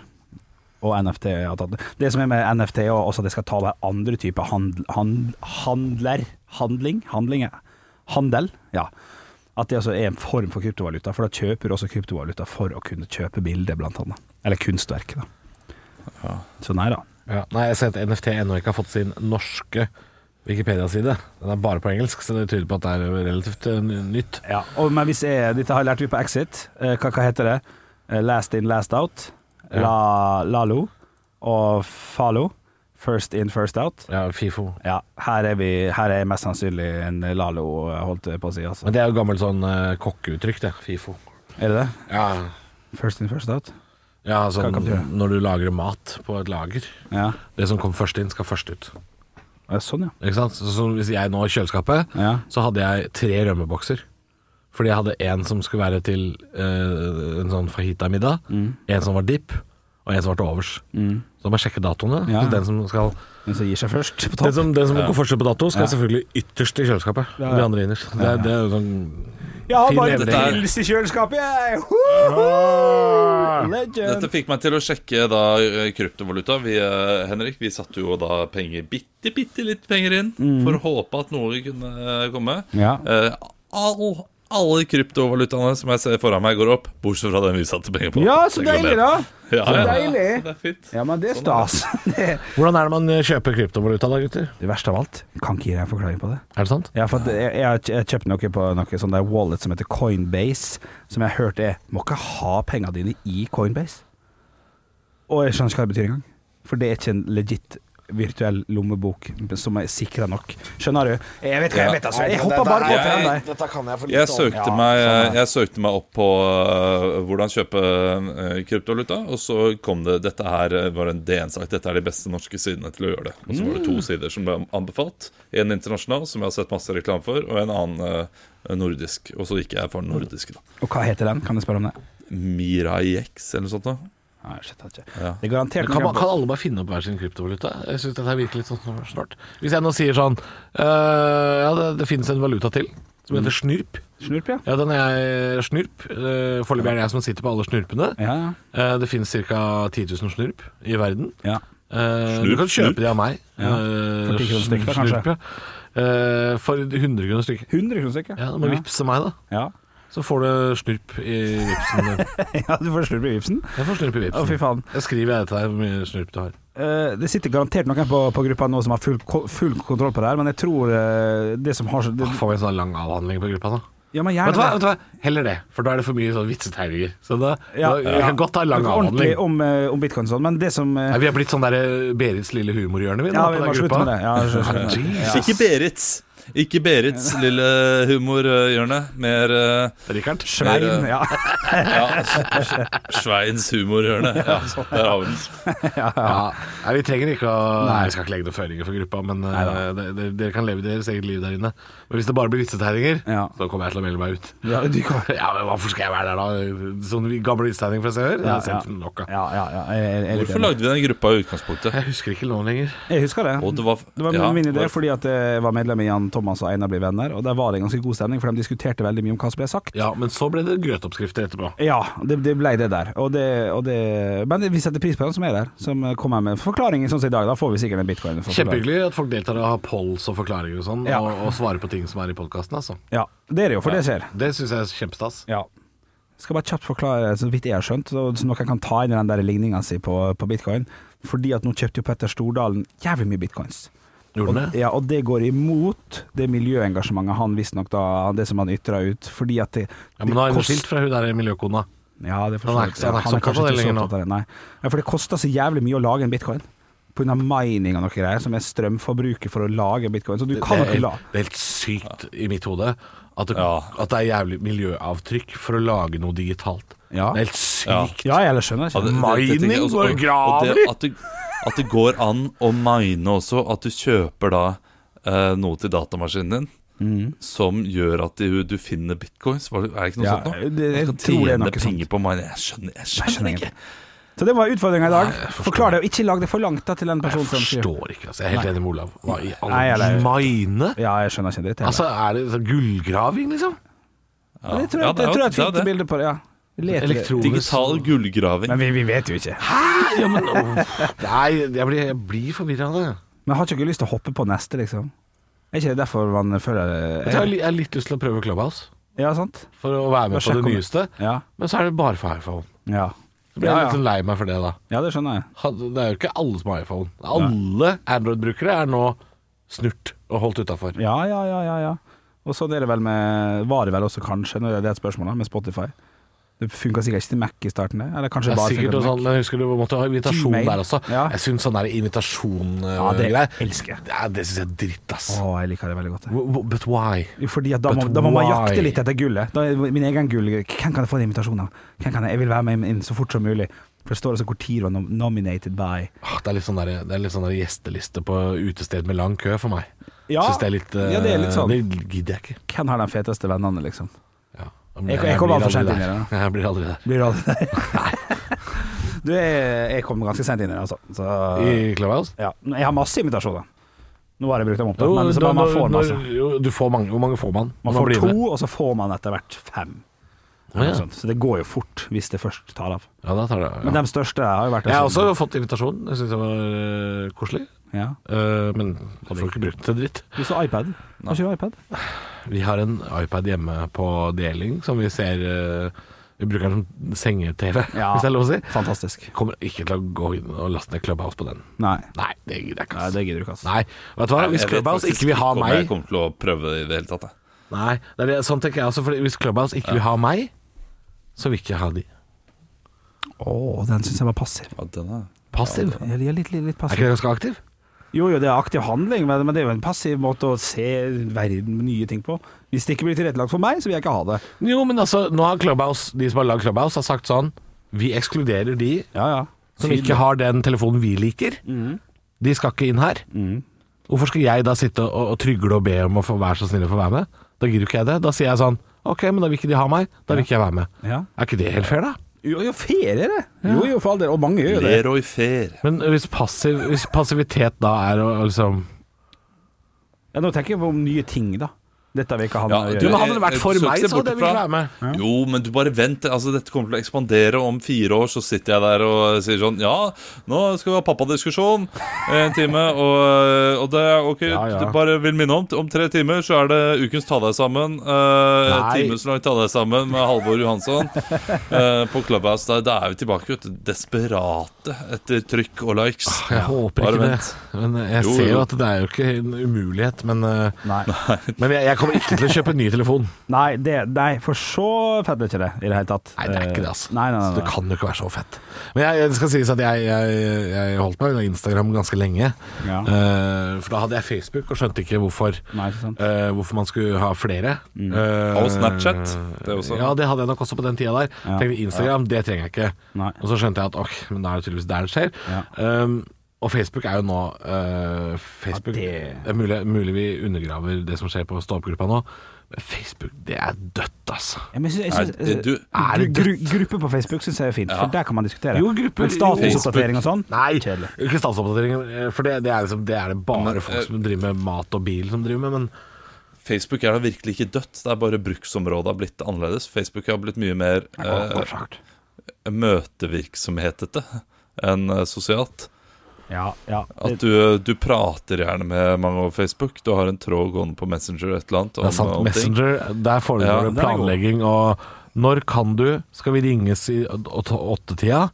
[SPEAKER 3] og NFT har tatt det. Det som er med NFT, er også at det skal ta hver andre type handl, hand, handler Handling? Handling ja. Handel, ja. At det altså er en form for kryptovaluta, for da kjøper du også kryptovaluta for å kunne kjøpe bilder, blant annet. Eller kunstverk, da. Så nei da.
[SPEAKER 6] Ja. Nei, jeg ser at NFT ennå ikke har fått sin norske Wikipedia-side. Den er bare på engelsk, så det tyder på at det er relativt eh, nytt.
[SPEAKER 3] Ja, og, men hvis jeg, dette har lærte vi på Exit. Eh, hva, hva heter det? Eh, last in, last out. La, Lalo og Falo. First in, first out.
[SPEAKER 6] Ja, FIFO.
[SPEAKER 3] Ja, her er, vi, her er mest sannsynlig en Lalo, holdt jeg på å si. Altså.
[SPEAKER 6] Men det er jo gammelt sånn eh, kokkeuttrykk, det. FIFO.
[SPEAKER 3] Er det det?
[SPEAKER 6] Ja,
[SPEAKER 3] First in, first out?
[SPEAKER 6] ja sånn
[SPEAKER 3] Hva kan det gjøre?
[SPEAKER 6] når du lagrer mat på et lager.
[SPEAKER 3] Ja.
[SPEAKER 6] Det som kom først inn, skal først ut.
[SPEAKER 3] Ja, Sånn, ja.
[SPEAKER 6] Ikke sant? Så, så hvis jeg nå i kjøleskapet,
[SPEAKER 3] Ja.
[SPEAKER 6] så hadde jeg tre rømmebokser. Fordi jeg hadde en som skulle være til eh, en sånn fajita-middag,
[SPEAKER 3] Mm.
[SPEAKER 6] en som var dipp, og en som var til overs. Så da må jeg sjekke datoene.
[SPEAKER 3] Ja.
[SPEAKER 6] Så Den som, skal,
[SPEAKER 3] Den som gir seg først på
[SPEAKER 6] den
[SPEAKER 3] topp.
[SPEAKER 6] som, den som går først på dato, skal selvfølgelig ytterst i kjøleskapet.
[SPEAKER 3] Ja, ja.
[SPEAKER 6] De andre innerst. Det, det er jo sånn
[SPEAKER 3] Jeg har
[SPEAKER 6] Fin
[SPEAKER 3] bare
[SPEAKER 6] levering.
[SPEAKER 3] pils i kjøleskapet, jeg! Woohoo! Legend!
[SPEAKER 5] Dette fikk meg til å sjekke da eh, kryptovaluta. Vi, eh, Henrik, vi satte jo da penger, bitte, bitte litt penger inn for å håpe at noe kunne eh, komme.
[SPEAKER 3] Mm. Ja.
[SPEAKER 5] Eh, all, alle kryptovalutaene som jeg ser foran meg, går opp, bortsett fra den vi satte penger på.
[SPEAKER 3] Ja, så
[SPEAKER 5] Det glemmer
[SPEAKER 3] deilig,
[SPEAKER 5] jeg.
[SPEAKER 3] da!
[SPEAKER 5] Ja,
[SPEAKER 3] Så
[SPEAKER 5] ja, ja.
[SPEAKER 3] deilig.
[SPEAKER 5] Det er fint.
[SPEAKER 3] Ja, men det er stas. Det,
[SPEAKER 6] Hvordan er det man eh, kjøper kryptovaluta da, gutter?
[SPEAKER 3] det verste av alt, kan ikke gi deg en forklaring på det.
[SPEAKER 6] Er det sant?
[SPEAKER 3] Ja, for at jeg, jeg har kj- jeg kjøpte noe på noe sånn der wallet som heter Coinbase, som jeg hørte er Må ikke ha pengene dine i Coinbase. Og jeg skjønner ikke hva det betyr engang. For det er ikke en legit virtuell lommebok som er sikra nok. Skjønner du? Jeg vet hva jeg vet, altså. Jeg hoppa bare på
[SPEAKER 5] er-
[SPEAKER 3] til deg.
[SPEAKER 6] Dette kan jeg for
[SPEAKER 5] Jeg søkte, meg, jeg søkte meg opp på eh, hvordan kjøpe eh, kryptovaluta, og så kom det Dette her eh, var en DN-sak. Dette er de beste norske sidene til å gjøre det. Og så var det to sider som ble anbefalt. En internasjonal, som jeg har sett masse reklame for, og en annen eh, nordisk. Og så gikk jeg for den nordiske, da.
[SPEAKER 3] Og hva heter den? Kan jeg spørre om det?
[SPEAKER 5] Miraix eller noe sånt. da
[SPEAKER 3] Nei, shit, jeg vet ikke.
[SPEAKER 5] Ja.
[SPEAKER 3] Det er garantert
[SPEAKER 6] Kan, man, kan alle bare finne opp hver sin kryptovaluta? Jeg synes dette virker litt sånn snart. Hvis jeg nå sier sånn øh, Ja, det, det finnes en valuta til som heter
[SPEAKER 3] Mm.
[SPEAKER 6] snurp.
[SPEAKER 3] Snurp, ja.
[SPEAKER 6] Ja, den er jeg snurp. Øh, Foreløpig er det jeg som sitter på alle snurpene.
[SPEAKER 3] Ja, ja.
[SPEAKER 6] Eh, Det finnes ca. 10 000 snurp i verden.
[SPEAKER 3] ja.
[SPEAKER 6] Eh,
[SPEAKER 5] Snurp,
[SPEAKER 6] du kan kjøpe
[SPEAKER 5] snurp?
[SPEAKER 6] de av meg.
[SPEAKER 3] Ja.
[SPEAKER 6] Eh,
[SPEAKER 3] For 10 kroner stykket,
[SPEAKER 6] snurp,
[SPEAKER 3] kanskje?
[SPEAKER 6] ja. Eh, For 100 kroner stykket.
[SPEAKER 3] 100 kroner stykket.
[SPEAKER 6] Ja, Du må vippse meg, da.
[SPEAKER 3] Ja.
[SPEAKER 6] Så får du snurp i vipsen din.
[SPEAKER 3] ja, du får snurp i vipsen.
[SPEAKER 6] Jeg får snurp i vipsen.
[SPEAKER 3] Å, fy faen.
[SPEAKER 6] Jeg skriver jeg til deg hvor mye snurp du har.
[SPEAKER 3] Eh, det sitter garantert noen på, på gruppa nå som har full, ko- full kontroll på det her, men jeg tror eh, det som har så det,
[SPEAKER 6] Åh, Får vi en sånn lang avhandling på gruppa nå?
[SPEAKER 3] Ja, men gjerne
[SPEAKER 6] Vet du, hva, vet
[SPEAKER 3] det.
[SPEAKER 6] du hva, heller det, for da er det for mye sånn vitsetegninger. Så da,
[SPEAKER 3] Ja.
[SPEAKER 6] da vi kan godt ha en lang
[SPEAKER 3] Noe Ordentlig
[SPEAKER 6] avhandling.
[SPEAKER 3] om, eh, om bitcoin og sånn, men det som eh,
[SPEAKER 6] Nei, vi har blitt sånn der eh, Berits lille humorhjørne, vi. nå,
[SPEAKER 3] Ja,
[SPEAKER 6] på
[SPEAKER 3] vi
[SPEAKER 6] den
[SPEAKER 3] må slutte
[SPEAKER 6] gruppa.
[SPEAKER 3] med det. Ja, jeg skjønner.
[SPEAKER 6] Jeez.
[SPEAKER 5] Ikke Berits. Ikke Berits lille eh, humorhjørne. Mer eh,
[SPEAKER 6] Rikard.
[SPEAKER 3] Svein, ja.
[SPEAKER 5] ja, Sveins humorhjørne. Ja, der har vi den.
[SPEAKER 6] Ja. Nei, vi trenger ikke å
[SPEAKER 3] Nei.
[SPEAKER 6] Nei, vi skal ikke legge noen føringer for gruppa, men eh, dere dere kan leve deres eget liv der inne. Men hvis det bare blir vitsetegninger,
[SPEAKER 3] Ja.
[SPEAKER 6] så kommer jeg til å melde meg ut.
[SPEAKER 3] Ja, du kan-
[SPEAKER 6] Ja, men hvorfor skal jeg være der da? Sånne gamle vitsetegninger fra sør?
[SPEAKER 3] Ja,
[SPEAKER 6] Ja,
[SPEAKER 3] ja.
[SPEAKER 6] Nok, av.
[SPEAKER 3] ja, ja, ja. Jeg, jeg, jeg, er litt
[SPEAKER 5] Hvorfor
[SPEAKER 3] enig.
[SPEAKER 5] lagde vi den gruppa i utgangspunktet?
[SPEAKER 6] jeg husker ikke noen lenger.
[SPEAKER 3] jeg husker det.
[SPEAKER 5] Og det var,
[SPEAKER 3] Det var
[SPEAKER 5] ja,
[SPEAKER 3] min idé
[SPEAKER 5] var-
[SPEAKER 3] fordi at eh, jeg var medlem i Jan Thomas og Einar blir venner, og der var det en ganske god stemning, for de diskuterte veldig mye om hva som ble sagt.
[SPEAKER 6] Ja, men så ble det grøtoppskrifter etterpå.
[SPEAKER 3] Ja, det, det ble det der. Og det, og det, men vi setter pris på den som er der, som kommer med forklaringer sånn som i dag. Da får vi sikkert en bitcoin. for forklaring.
[SPEAKER 6] Kjempehyggelig at folk deltar og har polls og forklaringer og sånn,
[SPEAKER 3] Ja.
[SPEAKER 6] og, og svarer på ting som er i podkasten, altså.
[SPEAKER 3] Ja, det er det jo, for det skjer.
[SPEAKER 6] Det syns jeg er kjempestas.
[SPEAKER 3] Ja. Skal bare kjapt forklare, så vidt jeg har skjønt, så, så noen kan ta inn i den der ligninga si på, på bitcoin. Fordi at nå kjøpte jo Petter Stordalen jævlig mye bitcoins.
[SPEAKER 6] Gjorde
[SPEAKER 3] og,
[SPEAKER 6] den det?
[SPEAKER 3] Ja, og det går imot det miljøengasjementet han visstnok da Det som han ytra ut, fordi at det,
[SPEAKER 6] Ja, men nå er
[SPEAKER 3] det
[SPEAKER 6] hun
[SPEAKER 3] kost-
[SPEAKER 6] skilt fra hun der miljøkona.
[SPEAKER 3] ja, det
[SPEAKER 6] Han
[SPEAKER 3] forstår
[SPEAKER 6] er
[SPEAKER 3] jeg.
[SPEAKER 6] ikke- han er ikke så
[SPEAKER 3] kanskje
[SPEAKER 6] opptatt av det
[SPEAKER 3] så
[SPEAKER 6] lenger nå.
[SPEAKER 3] opptatt av det, Nei. Ja, for det koster så jævlig mye å lage en bitcoin. Pga. mining og noe greier, som er strømforbruket for å lage bitcoin. Så du kan jo
[SPEAKER 6] det, er
[SPEAKER 3] ikke la
[SPEAKER 6] helt, det er helt sykt i mitt hode at det,
[SPEAKER 5] Ja.
[SPEAKER 6] at det er jævlig miljøavtrykk for å lage noe digitalt.
[SPEAKER 3] Ja.
[SPEAKER 6] Det er helt sykt.
[SPEAKER 3] Ja, jeg skjønner ikke.
[SPEAKER 5] tenker jeg
[SPEAKER 4] Mining
[SPEAKER 5] også-
[SPEAKER 4] går
[SPEAKER 5] Og
[SPEAKER 4] graver.
[SPEAKER 5] det at, du, at det går an å mine også, at du kjøper da eh, noe til datamaskinen din. Som gjør at du, du finner bitcoins? Var det- Er det ikke noe
[SPEAKER 3] Mm. Ja,
[SPEAKER 5] sånt nå?
[SPEAKER 3] det- jeg
[SPEAKER 5] Man skal
[SPEAKER 3] tror det er noe
[SPEAKER 5] tjene penger på mining. Jeg skjønner, jeg skjønner,
[SPEAKER 3] skjønner
[SPEAKER 5] ikke.
[SPEAKER 3] Så det var utfordringa i dag.
[SPEAKER 6] jeg forstår.
[SPEAKER 3] Forklar det, og ikke lag det for langt da til en person
[SPEAKER 6] Jeg
[SPEAKER 3] sånn som sier
[SPEAKER 6] forstår ikke. Altså. Jeg er helt enig med Olav. Hva i
[SPEAKER 3] Nei, jeg er
[SPEAKER 6] all
[SPEAKER 3] lei.
[SPEAKER 6] mine?
[SPEAKER 3] Ja, jeg skjønner ikke det. det er
[SPEAKER 6] Altså, er det sånn gullgraving, liksom?
[SPEAKER 5] Ja.
[SPEAKER 3] det tror jeg,
[SPEAKER 5] Ja,
[SPEAKER 3] det,
[SPEAKER 5] er jo-
[SPEAKER 3] tror jeg er et
[SPEAKER 5] det er
[SPEAKER 3] fint
[SPEAKER 5] det.
[SPEAKER 3] bilde på det. Ja. Let etter det.
[SPEAKER 6] Elektronisk
[SPEAKER 5] Digital gullgraving.
[SPEAKER 3] Men vi, vi vet jo ikke.
[SPEAKER 6] Ja, men, åh, Nei, jeg blir, jeg blir forvirra av det.
[SPEAKER 3] Men har ikke dere lyst til å hoppe på neste, liksom? Er ikke det derfor man føler
[SPEAKER 6] Jeg, har li- jeg har litt lyst til å prøve Clubhouse
[SPEAKER 3] Ja, sant?
[SPEAKER 6] for å være med
[SPEAKER 3] Bare
[SPEAKER 6] på
[SPEAKER 3] sjekk
[SPEAKER 6] det
[SPEAKER 3] om-
[SPEAKER 6] nyeste,
[SPEAKER 3] Ja.
[SPEAKER 6] men så er det bare for iPhone.
[SPEAKER 3] Ja.
[SPEAKER 6] Så blir
[SPEAKER 3] Ja,
[SPEAKER 6] jeg litt
[SPEAKER 3] ja.
[SPEAKER 6] sånn lei meg for det, da.
[SPEAKER 3] ja, det skjønner jeg.
[SPEAKER 6] Ha- Det er jo ikke alle som har iPhone. Alle Android-brukere er nå snurt og holdt utafor.
[SPEAKER 3] Ja, ja, ja, ja, ja. Og sånn er det vel med Var det vel også kanskje, når det er et spørsmål, da, med Spotify. Det funka sikkert ikke til Mac i starten, det. Eller kanskje
[SPEAKER 6] Det er
[SPEAKER 3] bare
[SPEAKER 6] sikkert
[SPEAKER 3] funket
[SPEAKER 6] noe
[SPEAKER 3] til
[SPEAKER 6] sånn, men jeg husker du måtte ha invitasjon
[SPEAKER 3] Gmail.
[SPEAKER 6] der også.
[SPEAKER 3] Ja.
[SPEAKER 6] Jeg syns sånn der invitasjon-greier
[SPEAKER 3] Ja, det elsker jeg.
[SPEAKER 6] Det, er- det syns jeg er dritt, ass.
[SPEAKER 3] Mac. Å, jeg liker det veldig godt. jeg.
[SPEAKER 6] W- w- But why?
[SPEAKER 3] Jo, Fordi at da må,
[SPEAKER 6] But
[SPEAKER 3] da må man
[SPEAKER 6] why?
[SPEAKER 3] jakte litt etter gullet. Da, er min egen gull Hvem kan jeg få en invitasjon av? Hvem kan jeg, jeg vil være med inn så fort som mulig. For det står altså hvor tid var nom nominated by.
[SPEAKER 6] Ah, Det er litt sånn, der, det er litt sånn der gjesteliste på utested med lang kø for meg.
[SPEAKER 3] Ja,
[SPEAKER 6] Synes det er litt eh,
[SPEAKER 3] ja, det er litt sånn.
[SPEAKER 6] Det gidder jeg ikke.
[SPEAKER 3] Hvem har de feteste vennene, liksom?
[SPEAKER 6] Ja.
[SPEAKER 3] Jeg- jeg kommer
[SPEAKER 6] blir
[SPEAKER 3] altfor sent
[SPEAKER 6] aldri
[SPEAKER 3] inn i
[SPEAKER 6] der.
[SPEAKER 3] det,
[SPEAKER 6] Jeg blir aldri der.
[SPEAKER 3] Blir det Du, jeg, jeg kom ganske sent inn i det, altså. Så,
[SPEAKER 6] I Clubhouse?
[SPEAKER 3] ja. Jeg har masse invitasjoner. Nå har jeg brukt dem opp, da.
[SPEAKER 6] Jo,
[SPEAKER 3] Men så
[SPEAKER 6] da-
[SPEAKER 3] bare man
[SPEAKER 6] når-
[SPEAKER 3] får masse.
[SPEAKER 6] når- jo, du får mange. Hvor mange får man?
[SPEAKER 3] Man
[SPEAKER 6] Når
[SPEAKER 3] får
[SPEAKER 6] blir
[SPEAKER 3] to,
[SPEAKER 6] det?
[SPEAKER 3] og så får man etter hvert fem.
[SPEAKER 6] Å, ja.
[SPEAKER 3] Noe sånt. Så det går jo fort, hvis det først tar av.
[SPEAKER 6] Ja, da tar det.
[SPEAKER 3] Men
[SPEAKER 6] Ja. sånn.
[SPEAKER 3] de største har jo vært
[SPEAKER 6] Jeg har også fått invitasjon. Jeg syns det var eh,
[SPEAKER 3] sånn-
[SPEAKER 6] koselig.
[SPEAKER 3] ja.
[SPEAKER 6] Eh, men jeg får ikke brukt den til dritt.
[SPEAKER 3] Du så iPad. Har ikke du iPad?
[SPEAKER 6] Vi har en iPad hjemme på deling som vi ser eh, Vi bruker den som senge-TV,
[SPEAKER 3] Ja.
[SPEAKER 6] hvis det er lov å si.
[SPEAKER 3] Fantastisk.
[SPEAKER 6] Kommer ikke til å gå inn og laste ned Clubhouse på den.
[SPEAKER 3] Nei.
[SPEAKER 6] Nei, det gidder jeg ikke.
[SPEAKER 3] Nei,
[SPEAKER 6] ass.
[SPEAKER 3] det gidder du ikke, altså.
[SPEAKER 6] Nei, vet du hva? Hvis
[SPEAKER 5] Jeg vet
[SPEAKER 6] Clubhouse
[SPEAKER 5] faktisk
[SPEAKER 6] ikke vil ha
[SPEAKER 5] om Jeg
[SPEAKER 6] meg
[SPEAKER 5] kommer til å prøve det i det hele tatt. jeg.
[SPEAKER 6] Nei, det er det, sånn tenker jeg også. Fordi hvis Clubhouse ikke vil ha meg, så vil ikke jeg ha de.
[SPEAKER 3] Å, den syns jeg var passiv.
[SPEAKER 5] Ja, den er
[SPEAKER 6] Passiv?
[SPEAKER 3] Jeg er litt, litt, litt
[SPEAKER 6] Er
[SPEAKER 3] passiv.
[SPEAKER 6] ikke det ganske aktiv?
[SPEAKER 3] Jo, jo, det er aktiv handling, men men det er jo en passiv måte å se verden, nye ting på. Hvis det ikke blir tilrettelagt for meg, så vil jeg ikke ha det.
[SPEAKER 6] Jo, men altså, nå har Clubhouse, de som har lagd Clubhouse, har sagt sånn Vi ekskluderer de
[SPEAKER 3] Ja, ja.
[SPEAKER 6] som ikke har den telefonen vi liker.
[SPEAKER 3] Mm.
[SPEAKER 6] De skal ikke inn her. Hvorfor skal jeg da sitte og, og trygle og be om å få være så snill å få være med? Da gidder jo ikke jeg det. Da sier jeg sånn Ok, men da vil ikke de ha meg. Da vil ikke jeg være med.
[SPEAKER 3] Ja.
[SPEAKER 6] Er ikke det helt fair, da?
[SPEAKER 3] Jo, jo, ferie, det. Jo, jo, for all del. Og mange gjør jo det.
[SPEAKER 5] Leroy Fair.
[SPEAKER 6] Men hvis, passiv, hvis passivitet da er å å liksom
[SPEAKER 3] Ja, nå tenker jeg på om nye ting, da. Dette vil ikke han
[SPEAKER 5] Ja,
[SPEAKER 3] å gjøre.
[SPEAKER 5] du-
[SPEAKER 6] Men hadde det vært
[SPEAKER 5] Jeg-
[SPEAKER 6] for
[SPEAKER 5] jeg-
[SPEAKER 6] meg, så hadde
[SPEAKER 5] søk det
[SPEAKER 6] jeg
[SPEAKER 5] bort
[SPEAKER 6] villet
[SPEAKER 5] fra.
[SPEAKER 6] være med.
[SPEAKER 5] Jo, men du bare vent. Altså, dette kommer til å ekspandere, og om fire år så sitter jeg der og sier sånn Ja, nå skal vi ha pappadiskusjon en time, og, og det er ok.
[SPEAKER 6] Ja, ja.
[SPEAKER 5] Du bare vil minne om om tre timer så er det ukens Ta deg sammen. Eh,
[SPEAKER 6] Nei.
[SPEAKER 5] Timeslangt Ta deg sammen med Halvor Johansson eh, på Clubhouse. Da, da er vi tilbake, vet du. Desperate etter trykk og likes.
[SPEAKER 6] Ah, Jeg håper
[SPEAKER 5] Bare
[SPEAKER 6] ikke det.
[SPEAKER 5] vent.
[SPEAKER 6] Men eh, jeg
[SPEAKER 5] Jo,
[SPEAKER 6] ser
[SPEAKER 5] jo.
[SPEAKER 6] jo at det er jo ikke en umulighet. Men, eh,
[SPEAKER 3] Nei.
[SPEAKER 6] men jeg, jeg kommer ikke til å kjøpe en ny telefon.
[SPEAKER 3] Nei, det, nei, for så fett er det ikke det i det hele tatt.
[SPEAKER 6] Nei, det er ikke det, altså.
[SPEAKER 3] Eh, Nei, nei,
[SPEAKER 6] Så
[SPEAKER 3] nei,
[SPEAKER 6] det
[SPEAKER 3] nei.
[SPEAKER 6] kan jo ikke være så fett. Men jeg, det skal sies at jeg, jeg, jeg holdt meg unna Instagram ganske lenge.
[SPEAKER 3] Ja.
[SPEAKER 6] Eh, for da hadde jeg Facebook og skjønte ikke hvorfor,
[SPEAKER 3] Nei, ikke sant.
[SPEAKER 6] eh, hvorfor man skulle ha flere.
[SPEAKER 3] Mm.
[SPEAKER 6] Eh,
[SPEAKER 5] Og Snapchat. Det er også-
[SPEAKER 6] Ja, det hadde jeg nok også på den tida der.
[SPEAKER 3] Ja.
[SPEAKER 6] Tenkte Instagram, det trenger jeg ikke.
[SPEAKER 3] Nei.
[SPEAKER 6] Og så skjønte jeg at ok, men da er det tydeligvis der det skjer. Um, og Facebook er jo nå eh, Facebook,
[SPEAKER 3] Ja, det-
[SPEAKER 6] det er mulig, mulig vi undergraver det som skjer på stå-opp-gruppa nå. Men Facebook, det er dødt, altså.
[SPEAKER 3] Ja, men jeg synes,
[SPEAKER 5] Nei,
[SPEAKER 3] jeg synes,
[SPEAKER 5] du,
[SPEAKER 6] Er det
[SPEAKER 3] gru, gru, grupper på Facebook syns jeg er fint, for der kan man diskutere.
[SPEAKER 6] Jo, grupper-
[SPEAKER 3] men statusoppdatering og sånn?
[SPEAKER 6] Nei,
[SPEAKER 3] Kjedelig.
[SPEAKER 6] ikke statsoppdateringer. For det, det, er liksom, det er det bare
[SPEAKER 5] Men, eh,
[SPEAKER 6] folk som driver med mat og bil som driver med, men
[SPEAKER 5] Facebook er da virkelig ikke dødt. Det er bare bruksområdet har blitt annerledes. Facebook har blitt mye mer
[SPEAKER 6] Å,
[SPEAKER 5] eh,
[SPEAKER 6] kort sagt.
[SPEAKER 5] møtevirksomhetete enn eh, sosialt.
[SPEAKER 3] Ja, ja.
[SPEAKER 5] At
[SPEAKER 3] Det,
[SPEAKER 5] du, eh, du prater gjerne med mange over Facebook. Du har en tråd gående på Messenger et eller annet.
[SPEAKER 6] Det er sant.
[SPEAKER 5] ting.
[SPEAKER 6] Messenger, der foregår
[SPEAKER 5] Ja,
[SPEAKER 6] det
[SPEAKER 5] den er god.
[SPEAKER 6] planlegging og Når kan du? Skal vi ringes i åt- åttetida?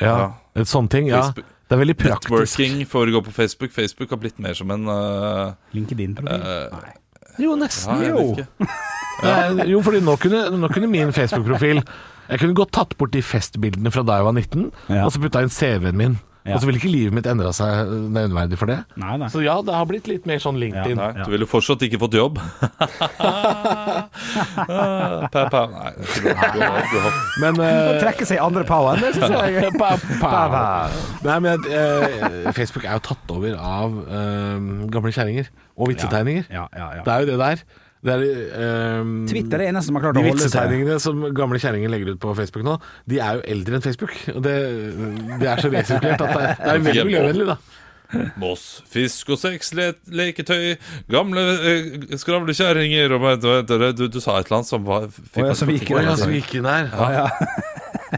[SPEAKER 6] Ja, et sånne ting. Ja.
[SPEAKER 5] Mm. Facebook-
[SPEAKER 6] Det er veldig praktisk.
[SPEAKER 5] Networking foregår på Facebook. Facebook har blitt mer som en eh,
[SPEAKER 3] LinkedIn-profil.
[SPEAKER 5] eh,
[SPEAKER 6] Jo,
[SPEAKER 5] ja,
[SPEAKER 6] nesten.
[SPEAKER 5] jeg
[SPEAKER 6] jo.
[SPEAKER 5] vet ikke.
[SPEAKER 6] Nei, jo, fordi nå kunne, nå kunne min Facebook-profil Jeg kunne godt tatt bort de festbildene fra da jeg var 19,
[SPEAKER 3] Ja.
[SPEAKER 6] og så putta inn CV-en min.
[SPEAKER 3] Ja.
[SPEAKER 6] Og så ville ikke livet mitt endra seg nevneverdig for det.
[SPEAKER 3] Nei, nei.
[SPEAKER 6] Så ja, det har blitt litt mer sånn LinkedIn.
[SPEAKER 5] Nei, du ville fortsatt ikke fått jobb. Ah, pa, pa. Nei, det er ikke bra. Du har- du har-
[SPEAKER 6] Men
[SPEAKER 3] Å
[SPEAKER 6] eh,
[SPEAKER 3] trekke seg i andre poweren, det syns jeg er gøy.
[SPEAKER 6] pa, pa.
[SPEAKER 3] Pa,
[SPEAKER 6] Nei, men eh, Facebook er jo tatt over av eh, gamle kjerringer og vitsetegninger.
[SPEAKER 3] Ja, ja, ja.
[SPEAKER 6] Det er jo det der. Det er, eh,
[SPEAKER 3] Twitter er eneste som har klart
[SPEAKER 6] De
[SPEAKER 3] å holde seg
[SPEAKER 6] vitsetegningene som gamle kjerringer legger ut på Facebook nå, de er jo eldre enn Facebook. Og det, det er så resirkulert at det er, det er veldig miljøvennlig, da.
[SPEAKER 5] Moss, fisk og sex, le leketøy, gamle eh, skravlekjerringer og vent, vent, vent, du, du sa et eller annet som var
[SPEAKER 3] Å ja,
[SPEAKER 5] fikk meg
[SPEAKER 3] som
[SPEAKER 5] til å
[SPEAKER 3] gikk
[SPEAKER 5] tenke.
[SPEAKER 3] i den.
[SPEAKER 6] Ja, så vi gikk inn her.
[SPEAKER 3] ja.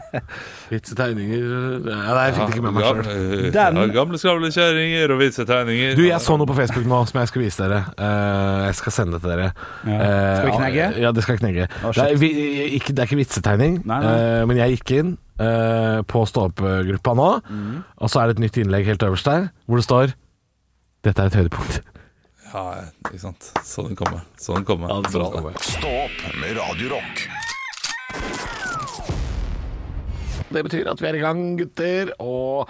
[SPEAKER 6] Vitsetegninger ja, Nei, jeg fikk det ikke med meg sjøl.
[SPEAKER 5] Gamle, eh,
[SPEAKER 3] Den-
[SPEAKER 5] ja, gamle skravlekjerringer og vitsetegninger.
[SPEAKER 6] Du, jeg så noe på Facebook nå som jeg skal vise dere. Eh, jeg skal sende det til dere. Eh,
[SPEAKER 3] Skal vi knegge?
[SPEAKER 6] Ja, det skal knegge. det, er, vi, ikke, det er ikke vitsetegning,
[SPEAKER 3] Nei, nei.
[SPEAKER 6] eh, men jeg gikk inn eh, på stå-opp-gruppa nå,
[SPEAKER 3] Mm.
[SPEAKER 6] og så er det et nytt innlegg helt øverst der, hvor det står 'Dette er et høydepunkt'.
[SPEAKER 5] Ja, ikke sant. Så den kommer. Så den kommer. Bra, det.
[SPEAKER 1] Stå opp med Radio Rock.
[SPEAKER 6] Det betyr at vi er i gang, gutter, og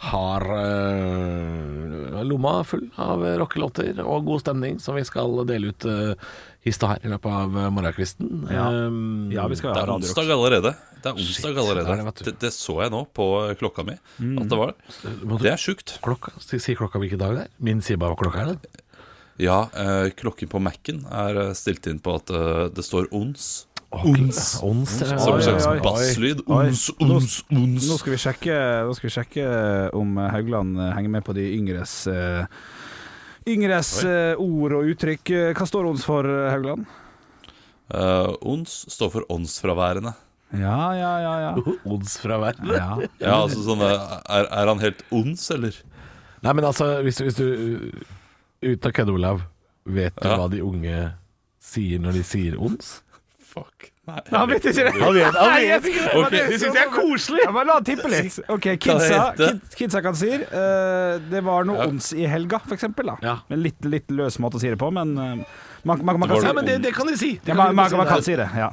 [SPEAKER 6] har eh, lomma full av rockelåter og god stemning som vi skal dele ut eh, hist og her i løpet av eh, morgenkvisten. Eh,
[SPEAKER 3] Ja, vi skal
[SPEAKER 5] Det
[SPEAKER 3] ha
[SPEAKER 5] er
[SPEAKER 3] Radio
[SPEAKER 5] onsdag
[SPEAKER 3] Rock.
[SPEAKER 5] allerede. Det er onsdag
[SPEAKER 6] det er det,
[SPEAKER 5] allerede.
[SPEAKER 6] vet du.
[SPEAKER 5] Det, det så jeg nå på eh, klokka mi at det var.
[SPEAKER 6] må du-
[SPEAKER 5] Det er sjukt.
[SPEAKER 6] Klokka, si- Sier klokka hvilken dag det er? Min sier bare hva klokka er. det.
[SPEAKER 5] Ja, eh, klokken på Mac-en er eh, stilt inn på at eh, det står ons.
[SPEAKER 6] Ons. Ons, eller?
[SPEAKER 5] Som
[SPEAKER 3] Oi,
[SPEAKER 5] en slags
[SPEAKER 3] oi, oi.
[SPEAKER 5] basslyd.
[SPEAKER 3] Oi.
[SPEAKER 5] Ons, ons, ons.
[SPEAKER 3] Nå skal vi sjekke, nå skal vi sjekke om Haugland henger med på de yngres eh, Yngres eh, ord og uttrykk. Hva står ons for, Haugland?
[SPEAKER 5] Eh, ons står for åndsfraværende.
[SPEAKER 3] Ja, ja, ja. ja.
[SPEAKER 6] Ons fra verden.
[SPEAKER 3] ja.
[SPEAKER 5] Ja, altså sånn eh, er, er han helt ons, eller?
[SPEAKER 6] Nei, men altså, hvis, hvis du uh, Uten å kødde, Olav. Vet du
[SPEAKER 5] Ja.
[SPEAKER 6] hva de unge sier når de sier ons?
[SPEAKER 5] Fuck. Nei.
[SPEAKER 3] Han vet ikke det! Nei, jeg vet ikke det.
[SPEAKER 5] Ok.
[SPEAKER 3] Det synes jeg er koselig! Ja, men La han tippe litt. Ok, Kidsa,
[SPEAKER 5] Hva heter det?
[SPEAKER 3] kid, kidsa kan si eh, det var noe ons i helga, for eksempel. Da.
[SPEAKER 6] Ja.
[SPEAKER 3] En litt, litt løs måte å si det på, men eh, man, man, man
[SPEAKER 5] var
[SPEAKER 3] kan si
[SPEAKER 5] noe
[SPEAKER 3] det.
[SPEAKER 5] det-
[SPEAKER 6] kan de si.
[SPEAKER 3] Ja, man, man, man kan si det. Ja.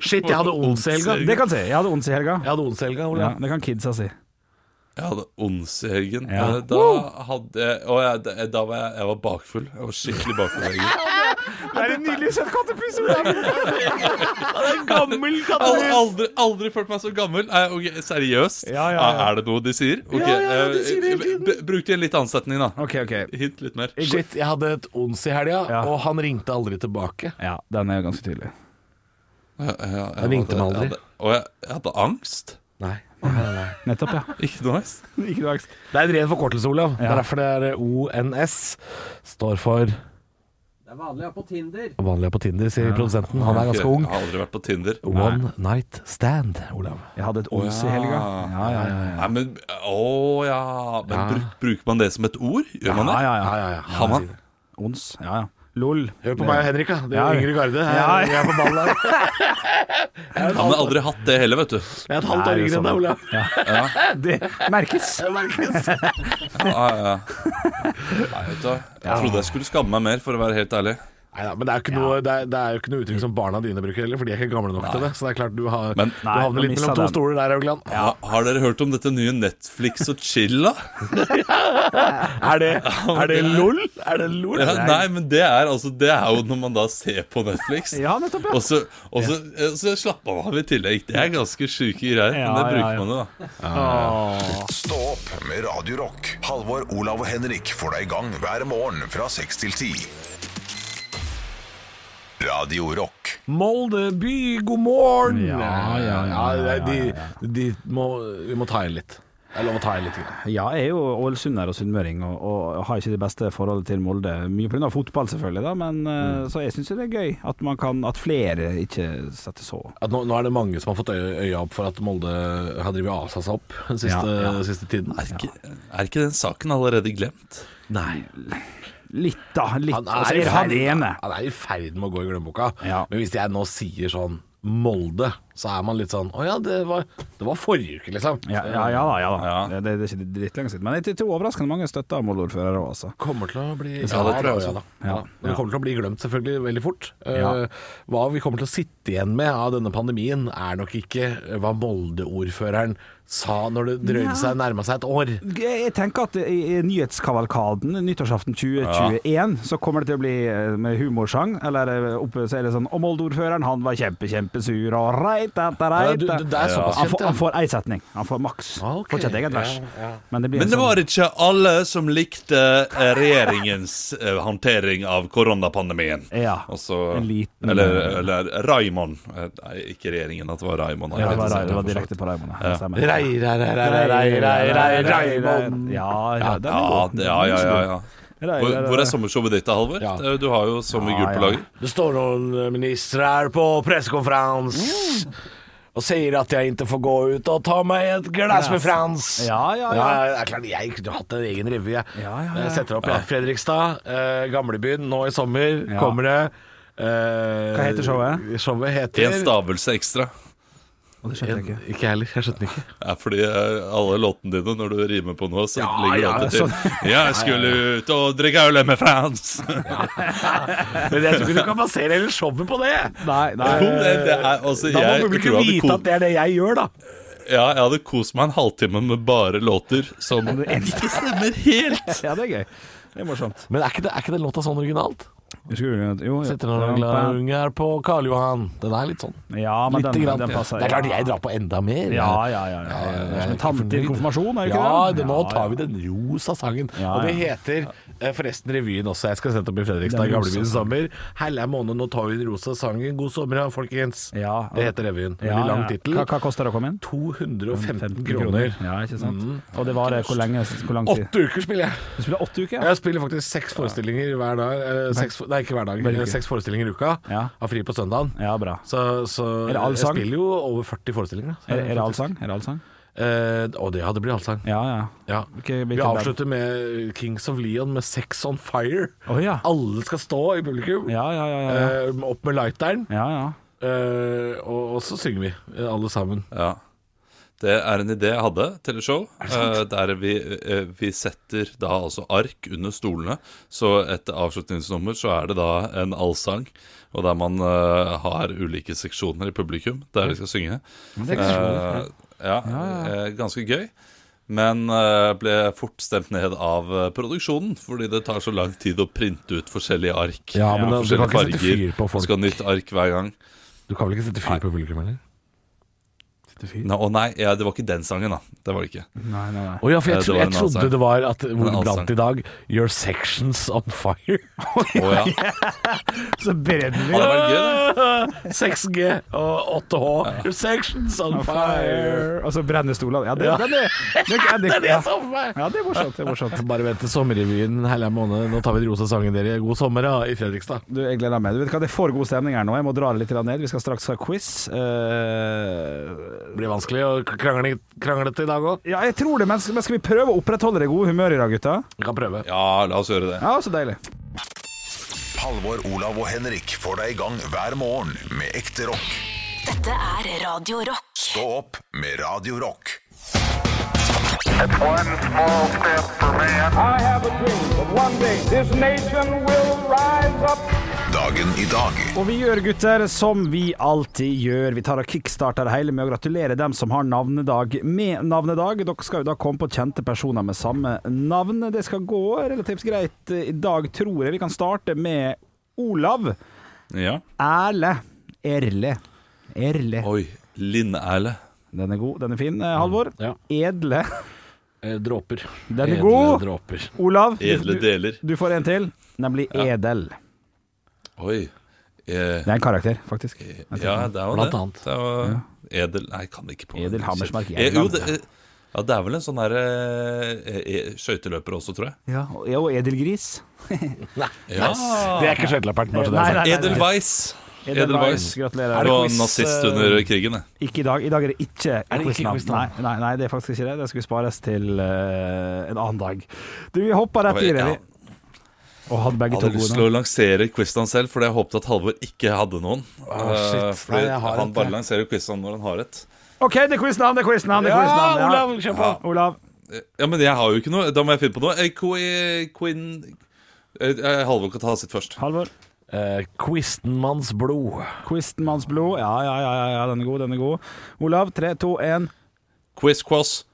[SPEAKER 6] Shit, jeg hadde ons i helga.
[SPEAKER 3] Det kan si. Jeg hadde ons i helga.
[SPEAKER 6] Jeg hadde ons i helga,
[SPEAKER 3] Ja,
[SPEAKER 6] Olav.
[SPEAKER 3] det kan kidsa si.
[SPEAKER 5] Jeg hadde ons i helgen.
[SPEAKER 3] Ja.
[SPEAKER 5] Eh, Da hadde jeg, og jeg, da- da var jeg, jeg var bakfull. Jeg var skikkelig bakfull. i helgen.
[SPEAKER 3] Er det nydelig sett kattepus? Olav?
[SPEAKER 6] Gammel
[SPEAKER 5] Jeg har aldri, aldri følt meg så gammel. Nei, ok, seriøst?
[SPEAKER 3] Ja, ja, ja.
[SPEAKER 5] Er det noe de sier? Ok,
[SPEAKER 6] Ja, ja, ja, de sier det hele
[SPEAKER 5] eh,
[SPEAKER 6] tiden.
[SPEAKER 5] b- Bruk det i en litt annen setning, da.
[SPEAKER 3] OK, OK.
[SPEAKER 5] Hint litt mer.
[SPEAKER 6] Shit, jeg hadde et ons i helga,
[SPEAKER 3] Ja.
[SPEAKER 6] og han ringte aldri tilbake.
[SPEAKER 3] Ja, den er jo ganske tydelig.
[SPEAKER 5] Ja, ja, jeg
[SPEAKER 6] Han ringte meg
[SPEAKER 5] hadde-
[SPEAKER 6] aldri.
[SPEAKER 5] jeg hadde- Og jeg, jeg hadde angst.
[SPEAKER 6] Nei. nei, nei.
[SPEAKER 3] Nettopp, ja.
[SPEAKER 5] Ikke noe angst.
[SPEAKER 3] Ikke noe angst.
[SPEAKER 6] Det er en ren forkortelse, Olav. Det
[SPEAKER 3] Ja.
[SPEAKER 6] er derfor det er ONS. Står for
[SPEAKER 7] Det er vanlig å være på Tinder.
[SPEAKER 6] vanlig på Tinder, sier produsenten. Han er ganske
[SPEAKER 5] Jeg
[SPEAKER 6] ung.
[SPEAKER 5] har aldri vært på Tinder.
[SPEAKER 6] One night stand, Olav.
[SPEAKER 3] Jeg hadde et ons i helga. Ja, ja, ja. ja.
[SPEAKER 5] Nei, men, å ja. Men
[SPEAKER 6] Ja.
[SPEAKER 5] Bruk, Bruker man det som et ord? Gjør man det?
[SPEAKER 3] Ja, ja, ja.
[SPEAKER 6] ja, ja.
[SPEAKER 5] Har man?
[SPEAKER 3] Ons. Ja, ja. LOL.
[SPEAKER 6] Hør på meg og Henrik, da. Det
[SPEAKER 3] Ja.
[SPEAKER 6] er yngre garde. Her,
[SPEAKER 3] Ja.
[SPEAKER 6] Jeg er på ballen her.
[SPEAKER 5] Han har aldri hatt det heller, vet du.
[SPEAKER 6] Jeg er et
[SPEAKER 3] Nei,
[SPEAKER 6] halvt år
[SPEAKER 3] det er
[SPEAKER 6] yngre enn deg, Olav.
[SPEAKER 3] Det merkes.
[SPEAKER 6] Det merkes.
[SPEAKER 5] Ja, ja. Nei, vet du, hva. jeg trodde jeg skulle skamme meg mer, for å være helt ærlig.
[SPEAKER 6] Neida, men det er, jo ikke noe, det, er, det er jo ikke noe uttrykk som barna dine bruker heller, for de er ikke gamle nok til det. Så det er klart du, har,
[SPEAKER 5] Men-
[SPEAKER 6] du
[SPEAKER 3] Nei, nå
[SPEAKER 6] havner litt
[SPEAKER 3] misset
[SPEAKER 6] mellom to
[SPEAKER 3] den.
[SPEAKER 6] stoler der, Haugland.
[SPEAKER 5] Ha- Har dere hørt om dette nye Netflix og chill, da?
[SPEAKER 6] Er det, er det LOL? Er det LOL?
[SPEAKER 5] Ja, nei, men det er, altså, det er jo når man da ser på Netflix.
[SPEAKER 3] Ja, nettopp, ja.
[SPEAKER 5] Og så, og så, og så slapper man av i tillegg. Det er ganske sjuke greier,
[SPEAKER 3] Ja,
[SPEAKER 5] men det
[SPEAKER 3] ja,
[SPEAKER 5] bruker
[SPEAKER 3] ja.
[SPEAKER 5] man jo, da.
[SPEAKER 6] Ah.
[SPEAKER 1] Stå opp med Radio Rock. Halvor, Olav og Henrik får deg i gang hver morgen fra 6 til 10. Radio Rock.
[SPEAKER 6] Molde by, god morgen!
[SPEAKER 3] Ja, ja, ja,
[SPEAKER 6] Ja, de, de må, vi må ta i litt. Det er lov å ta i litt.
[SPEAKER 3] Ja, jeg er jo ålesunder og sunnmøring og, og har ikke det beste forholdet til Molde. Mye pga. fotball, selvfølgelig, da, men
[SPEAKER 6] Mm.
[SPEAKER 3] eh, så jeg syns jo det er gøy at, man kan, at flere ikke setter så
[SPEAKER 6] At nå, nå er det mange som har fått øye, øya opp for at Molde har drevet og asa seg opp den siste,
[SPEAKER 3] Ja, ja.
[SPEAKER 6] siste tiden.
[SPEAKER 5] Er ikke, er ikke den saken allerede glemt?
[SPEAKER 6] Nei.
[SPEAKER 3] Litt, da. Litt.
[SPEAKER 6] Han er,
[SPEAKER 3] Altså,
[SPEAKER 6] i
[SPEAKER 3] han
[SPEAKER 6] ferd,
[SPEAKER 3] ene.
[SPEAKER 6] han er i ferd med å gå i glemmeboka.
[SPEAKER 3] Ja.
[SPEAKER 6] Men hvis jeg nå sier sånn Molde, så er man litt sånn Å ja, det var, det var forrige uke, liksom.
[SPEAKER 3] Ja, ja, ja da. Ja, da.
[SPEAKER 5] Ja.
[SPEAKER 3] Det, det, det er ikke drittlenge siden. Men jeg tror overraskende mange støtter Molde-ordførere òg, altså.
[SPEAKER 6] Kommer til å bli
[SPEAKER 5] Ja, det tror jeg også.
[SPEAKER 6] da.
[SPEAKER 3] Ja.
[SPEAKER 6] Ja. Men det kommer til å bli glemt selvfølgelig veldig fort. Eh,
[SPEAKER 3] Ja.
[SPEAKER 6] hva vi kommer til å sitte igjen med av denne pandemien, er nok ikke hva Molde-ordføreren sa når det drøyde seg nærma seg et år.
[SPEAKER 3] Jeg jeg tenker at i i nyhetskavalkaden nyttårsaften 2021 så kommer det til å bli eh, med humorsang. Eller eh, oppe så er det sånn Og Molde-ordføreren, han var kjempe, kjempesur og reit etter
[SPEAKER 6] Ja,
[SPEAKER 3] reit.
[SPEAKER 6] du, du, det er såpass
[SPEAKER 3] Han
[SPEAKER 6] kjent,
[SPEAKER 3] får, han får ei setning. Han får maks.
[SPEAKER 6] Ah, ok.
[SPEAKER 3] Får ikke et eget
[SPEAKER 6] Ja,
[SPEAKER 3] vers.
[SPEAKER 6] ja.
[SPEAKER 3] Men det blir
[SPEAKER 5] Men det
[SPEAKER 3] en
[SPEAKER 5] var
[SPEAKER 3] sånn
[SPEAKER 5] ikke alle som likte eh, regjeringens eh, håndtering av koronapandemien.
[SPEAKER 3] Ja.
[SPEAKER 5] Og så,
[SPEAKER 3] En liten-
[SPEAKER 5] eller, eller Raimond. Eh, Nei, ikke regjeringen, at det var Raimond.
[SPEAKER 3] ja, det var, det var direkte på Raymond. Ja. stemmer.
[SPEAKER 6] Rei, rei, rei, rei, rei, rei, rei, Raimond.
[SPEAKER 3] Ja, ja, den er
[SPEAKER 5] Ja,
[SPEAKER 3] god.
[SPEAKER 5] ja, ja, ja, ja.
[SPEAKER 3] Rei,
[SPEAKER 5] Hvor,
[SPEAKER 3] rei, rei.
[SPEAKER 5] hvor er sommershowet ditt, da, Halvor?
[SPEAKER 6] Ja.
[SPEAKER 5] Eh, Du har jo så mye
[SPEAKER 3] Ja,
[SPEAKER 5] gult
[SPEAKER 3] ja.
[SPEAKER 5] på lager.
[SPEAKER 6] Det står noen eh, ministre her på pressekonferanse
[SPEAKER 3] Mm.
[SPEAKER 6] og sier at jeg ikke får gå ut og ta meg et glass med Frans.
[SPEAKER 3] Ja, ja, ja.
[SPEAKER 6] det er klart, jeg kunne hatt en egen revy. Jeg,
[SPEAKER 3] Ja, ja, ja.
[SPEAKER 6] jeg setter opp jeg. Fredrikstad, eh, Gamlebyen, nå i sommer
[SPEAKER 3] Ja.
[SPEAKER 6] kommer det. eh,
[SPEAKER 3] Hva heter showet?
[SPEAKER 6] Showet heter
[SPEAKER 5] En stavelse ekstra.
[SPEAKER 3] Og Det skjønte jeg ikke.
[SPEAKER 6] Ikke jeg heller, jeg skjønte den ikke.
[SPEAKER 5] Ja, fordi eh, alle låtene dine, når du rimer på noe, så ligger det
[SPEAKER 3] ja, sånn.
[SPEAKER 5] alltid til. Jeg skulle ut og drikke øl med Frans!
[SPEAKER 6] Men jeg tror ikke du kan basere hele showet på det.
[SPEAKER 3] Nei, nei.
[SPEAKER 5] Jo, det, det er, altså,
[SPEAKER 6] Da må
[SPEAKER 5] jeg tror
[SPEAKER 6] publikum
[SPEAKER 5] jeg hadde
[SPEAKER 6] vite
[SPEAKER 5] ko-
[SPEAKER 6] at det er det jeg gjør, da.
[SPEAKER 5] Ja, jeg hadde kost meg en halvtime med bare låter som
[SPEAKER 3] eneste.
[SPEAKER 5] ikke stemmer helt.
[SPEAKER 3] Ja, det er gøy. Det er morsomt.
[SPEAKER 6] Men er ikke, det, er ikke den låta sånn originalt?
[SPEAKER 3] Skulle- Jo, jo.
[SPEAKER 6] Sitter noen glade unger på Karl Johan. Den er litt sånn.
[SPEAKER 3] Ja, men
[SPEAKER 6] Lite
[SPEAKER 3] den,
[SPEAKER 6] grann.
[SPEAKER 3] den passer.
[SPEAKER 6] det er klart
[SPEAKER 3] ja.
[SPEAKER 6] jeg drar på enda mer.
[SPEAKER 3] Ja, ja, ja. ja, ja. Eh, Det er som en tante i en konfirmasjon, er det
[SPEAKER 6] ja,
[SPEAKER 3] ikke det?
[SPEAKER 6] det- nå
[SPEAKER 3] Ja,
[SPEAKER 6] tar
[SPEAKER 3] ja.
[SPEAKER 6] vi den rosa sangen.
[SPEAKER 3] Ja,
[SPEAKER 6] Og det
[SPEAKER 3] ja.
[SPEAKER 6] heter eh, forresten revyen også. Jeg skal sette opp i Fredrikstad,
[SPEAKER 3] Den rosa
[SPEAKER 6] Gamlebyen i sommer. Helle måned, nå tar vi den rosa sangen. God sommer, ja, folkens.
[SPEAKER 3] Ja.
[SPEAKER 6] Det heter revyen.
[SPEAKER 3] Ja,
[SPEAKER 6] Veldig lang
[SPEAKER 3] ja.
[SPEAKER 6] tittel.
[SPEAKER 3] Hva, hva koster det å komme inn?
[SPEAKER 6] 215 kroner. Mm.
[SPEAKER 3] Ja, ikke sant. Og det varer hvor lenge? Hvor lang tid?
[SPEAKER 6] Åtte uker spiller jeg.
[SPEAKER 3] Du spiller åtte uker? ja?
[SPEAKER 6] Jeg spiller faktisk seks forestillinger hver dag. eh, Seks, nei, ikke hver dag. eh,
[SPEAKER 3] Hver uke.
[SPEAKER 6] Seks forestillinger i uka.
[SPEAKER 3] Ja.
[SPEAKER 6] Har fri på søndagen.
[SPEAKER 3] Ja, bra.
[SPEAKER 6] Så, så
[SPEAKER 3] Er det all
[SPEAKER 6] jeg
[SPEAKER 3] sang?
[SPEAKER 6] spiller jo over 40 forestillinger. da. Så
[SPEAKER 3] Er, er det
[SPEAKER 6] faktisk-
[SPEAKER 3] allsang? Er det allsang?
[SPEAKER 6] Eh, og det, ja, det blir allsang.
[SPEAKER 3] Ja, ja.
[SPEAKER 6] Ja.
[SPEAKER 3] Hvilke- hvilken
[SPEAKER 6] Vi
[SPEAKER 3] band?
[SPEAKER 6] avslutter med Kings of Leon med Sex on Fire.
[SPEAKER 3] Å, ja.
[SPEAKER 6] Alle skal stå i publikum.
[SPEAKER 3] Ja, ja, ja. ja, ja.
[SPEAKER 6] Eh, opp med lighteren,
[SPEAKER 3] ja, ja.
[SPEAKER 6] eh, og, og så synger vi, eh, alle sammen.
[SPEAKER 5] Ja. Det er en idé jeg hadde til et show, eh, der vi, eh, vi setter da altså ark under stolene. Så etter avslutningsnummer så er det da en allsang, og der man eh, har ulike seksjoner i publikum der de skal synge. Eh, ja, eh, ganske gøy. Men eh, ble fort stemt ned av eh, produksjonen, fordi det tar så lang tid å printe ut forskjellige ark.
[SPEAKER 6] Ja, men
[SPEAKER 5] og
[SPEAKER 6] da- du kan
[SPEAKER 5] forskjellige
[SPEAKER 6] ikke sette
[SPEAKER 5] farger.
[SPEAKER 6] fyr på folk.
[SPEAKER 5] Du Skal ha nytt ark hver gang.
[SPEAKER 6] Du kan vel ikke sette fyr på publikum, eller?
[SPEAKER 5] Nei, å nei, ja, det var ikke den sangen, da. Det var det ikke.
[SPEAKER 3] Nei, nei, nei.
[SPEAKER 6] Å ja, for jeg,
[SPEAKER 5] Eh, det
[SPEAKER 6] tro,
[SPEAKER 5] var
[SPEAKER 6] jeg
[SPEAKER 5] en
[SPEAKER 6] trodde
[SPEAKER 5] allsang.
[SPEAKER 6] det var at hvor
[SPEAKER 5] en
[SPEAKER 6] det brant
[SPEAKER 5] allsang.
[SPEAKER 6] i dag. Your sections on fire.
[SPEAKER 5] Å ja.
[SPEAKER 3] Så brenner vi.
[SPEAKER 5] Har det vært gøy, da?
[SPEAKER 6] 6G og 8H. Your sections on fire.
[SPEAKER 3] Fire. Og så brenner stolene. Ja, det,
[SPEAKER 6] Ja.
[SPEAKER 3] Den er, den er,
[SPEAKER 6] Det er det
[SPEAKER 3] ja.
[SPEAKER 6] jeg så for meg.
[SPEAKER 3] ja, det er morsomt. Det er morsomt.
[SPEAKER 6] Bare vent til sommerrevyen herlig måned. Nå tar vi den rosa sangen dere. God sommer ja, i Fredrikstad.
[SPEAKER 3] Du, jeg gleder meg. Du vet hva, Det er for god stemning her nå. Jeg må dra det litt grann ned. Vi skal straks ha quiz. Eh,
[SPEAKER 6] Det blir vanskelig å krangle, kranglete i dag òg.
[SPEAKER 3] ja, jeg tror det, men skal, men skal vi prøve å opprettholde det gode humøret i dag, gutta?
[SPEAKER 6] Vi kan prøve.
[SPEAKER 5] Ja, la oss gjøre det.
[SPEAKER 3] Ja, så deilig.
[SPEAKER 1] Halvor, Olav og Henrik får deg i gang hver morgen med ekte rock.
[SPEAKER 2] Dette er Radio Rock.
[SPEAKER 1] Stå opp med Radio Rock.
[SPEAKER 8] One small step for man.
[SPEAKER 9] I have a dream that one day this nation will rise up.
[SPEAKER 1] Dagen i dag
[SPEAKER 3] Og vi gjør, gutter, som vi alltid gjør. Vi tar og kickstarter det hele med å gratulere dem som har navnedag med navnedag. Dere skal jo da komme på kjente personer med samme navn. Det skal gå relativt greit eh, i dag, tror jeg. Vi kan starte med Olav.
[SPEAKER 5] Ja.
[SPEAKER 3] Erle. Erle. Erle.
[SPEAKER 5] Oi. Linn-Erle.
[SPEAKER 3] Den er god, den er fin. Eh, Halvor.
[SPEAKER 6] Ja.
[SPEAKER 3] Edle.
[SPEAKER 6] Eh, Dråper.
[SPEAKER 3] Den er
[SPEAKER 6] Edle
[SPEAKER 3] god.
[SPEAKER 6] Dråper.
[SPEAKER 3] Olav, du,
[SPEAKER 5] Edle
[SPEAKER 3] du,
[SPEAKER 5] deler.
[SPEAKER 3] du får en til, nemlig Edel.
[SPEAKER 5] Oi. Eh,
[SPEAKER 3] Det er en karakter, faktisk.
[SPEAKER 5] ja, det var
[SPEAKER 6] Blant
[SPEAKER 5] det.
[SPEAKER 6] annet.
[SPEAKER 5] Det var edel Nei, jeg kan ikke på
[SPEAKER 3] Edel Hammersmark
[SPEAKER 5] Eh,
[SPEAKER 3] Jægeland.
[SPEAKER 5] Jo, det, eh, ja, det er vel en sånn her eh, eh, skøyteløper også, tror jeg.
[SPEAKER 3] Ja, og- ja, og Edelgris.
[SPEAKER 5] Ja.
[SPEAKER 6] Det er ikke skøytelapperten, bare så det
[SPEAKER 3] Nei,
[SPEAKER 6] er
[SPEAKER 3] nei,
[SPEAKER 6] sagt.
[SPEAKER 3] nei, nei.
[SPEAKER 5] Edelweiss.
[SPEAKER 3] Edelweiss.
[SPEAKER 5] Edelweiss.
[SPEAKER 3] Gratulerer.
[SPEAKER 5] Du var nazist
[SPEAKER 6] eh,
[SPEAKER 5] under krigen, jeg.
[SPEAKER 3] Ikke i dag. I dag er det ikke
[SPEAKER 6] det ikke
[SPEAKER 3] quiznavn. Nei,
[SPEAKER 6] quiznavn?
[SPEAKER 3] nei, nei, det er faktisk ikke det. Det skulle spares til eh, en annen dag. Du, vi hopper rett
[SPEAKER 5] Oi,
[SPEAKER 3] i det.
[SPEAKER 5] ja.
[SPEAKER 3] vi. Og hadde begge
[SPEAKER 5] Jeg
[SPEAKER 3] to
[SPEAKER 5] hadde lyst til
[SPEAKER 3] gode.
[SPEAKER 5] å lansere quizen selv, fordi jeg håpet at Halvor ikke hadde noen. Eh,
[SPEAKER 6] shit.
[SPEAKER 5] fordi
[SPEAKER 6] Nei, jeg har
[SPEAKER 5] han
[SPEAKER 6] et,
[SPEAKER 5] bare
[SPEAKER 6] jeg.
[SPEAKER 5] lanserer quizen når han har et.
[SPEAKER 3] OK, det er quiznavn, det er quiznavn! Ja, ja. Olav, kjør på. Olav.
[SPEAKER 5] Ja, men jeg har jo ikke noe. Da må jeg finne på noe. Eh, Qui- Quinn eh, eh, Halvor kan ta sitt først.
[SPEAKER 3] Halvor.
[SPEAKER 6] Eh, Quistenmanns blod.
[SPEAKER 3] Quistenmanns blod. Ja, ja, ja, ja, ja, den er god, den er god. Olav, tre, to, én.
[SPEAKER 5] Quiz Quoss.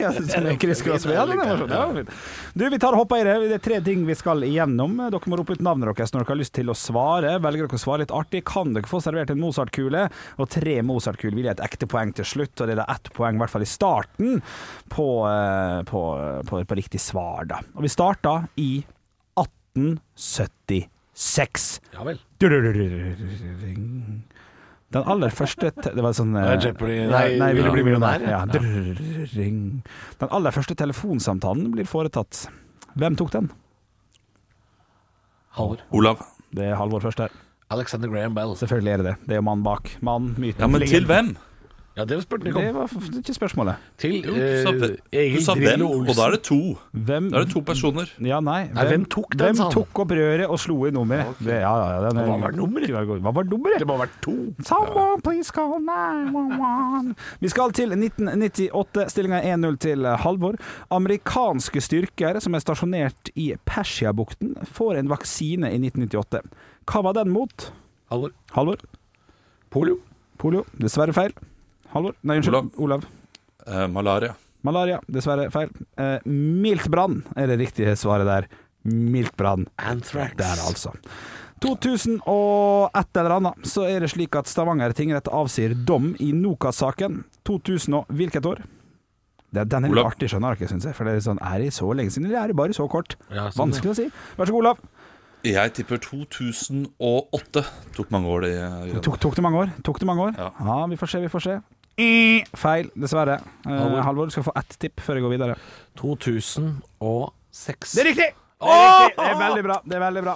[SPEAKER 3] Ja, så det er Chris Cross. Ja, den er morsom. Ja, den er fin. Du, vi tar og hopper i det. Det er tre ting vi skal igjennom. Dere må rope ut navnet deres når dere har lyst til å svare. Velger dere å svare litt artig, kan dere få servert en Mozart-kule. Og tre Mozart-kuler vil gi et ekte poeng til slutt, og det er da ett poeng, i hvert fall i starten, på, eh, på, på, på riktig svar, da. Og vi starta i 1876.
[SPEAKER 6] Ja vel.
[SPEAKER 3] Den aller første te Det var sånn eh,
[SPEAKER 6] Det er Jeopardy.
[SPEAKER 3] Nei, nei vil du
[SPEAKER 6] Ja.
[SPEAKER 3] bli millionær? Ja. Drrrring. Den aller første telefonsamtalen blir foretatt. Hvem tok den?
[SPEAKER 6] Halvor.
[SPEAKER 5] Olav.
[SPEAKER 3] Det er Halvor først her.
[SPEAKER 6] Alexander Graham Bell.
[SPEAKER 3] Selvfølgelig er det det. Det er jo mannen bak. Mann, myten.
[SPEAKER 5] Ja, men til
[SPEAKER 3] legenden.
[SPEAKER 5] hvem?
[SPEAKER 6] Ja, det spurte
[SPEAKER 3] Det var f- ikke spørsmålet.
[SPEAKER 6] Til
[SPEAKER 5] Jo, du sa,
[SPEAKER 6] eh,
[SPEAKER 5] du
[SPEAKER 6] Egil
[SPEAKER 5] sa hvem,
[SPEAKER 6] Drillo
[SPEAKER 5] og
[SPEAKER 6] Olsen.
[SPEAKER 5] da er det to.
[SPEAKER 3] Hvem
[SPEAKER 5] Da er det to personer.
[SPEAKER 3] Ja, nei.
[SPEAKER 6] Nei, hvem tok den,
[SPEAKER 3] Hvem
[SPEAKER 6] sa han?
[SPEAKER 3] tok opp røret og slo i nummeret? Det, ja, ja, ja, den er-
[SPEAKER 6] Hva var nummeret?
[SPEAKER 3] Hva var nummeret?
[SPEAKER 6] Det må ha vært to.
[SPEAKER 3] Someone please call 911. Vi skal til 1998. Stillinga er 1-0 til Halvor. Amerikanske styrker som er stasjonert i Persiabukten, får en vaksine i 1998. Hva var den mot?
[SPEAKER 6] Halvor.
[SPEAKER 3] Halvor?
[SPEAKER 6] Polio.
[SPEAKER 3] Polio? Dessverre feil. Halvor? Nei, unnskyld. Olav.
[SPEAKER 5] Eh, malaria.
[SPEAKER 3] Malaria? Dessverre feil. Eh, Miltbrann er det riktige svaret der. Miltbrann.
[SPEAKER 6] Anthrax.
[SPEAKER 3] Der, altså. 2000 og et eller annet, så er det slik at Stavanger tingrett avsier dom i Nokas-saken. 2000 og hvilket år? Det, den er litt
[SPEAKER 5] Olav.
[SPEAKER 3] artig, skjønner dere, syns jeg. For det er sånn Er det så lenge siden, eller er det bare så kort?
[SPEAKER 6] Ja, sånn,
[SPEAKER 3] Vanskelig å si. Vær så god, Olav.
[SPEAKER 5] Jeg tipper 2008. Tok mange år, det. eh, Jørgen.
[SPEAKER 3] Tok, tok det mange år? Tok det mange år? Ja.
[SPEAKER 5] Ja.
[SPEAKER 3] vi får se, vi får se. Feil, dessverre. Eh, Halvor. du skal få ett tipp før jeg går videre.
[SPEAKER 6] 2006.
[SPEAKER 3] Det er riktig! Det er, riktig. det er veldig bra. det er veldig bra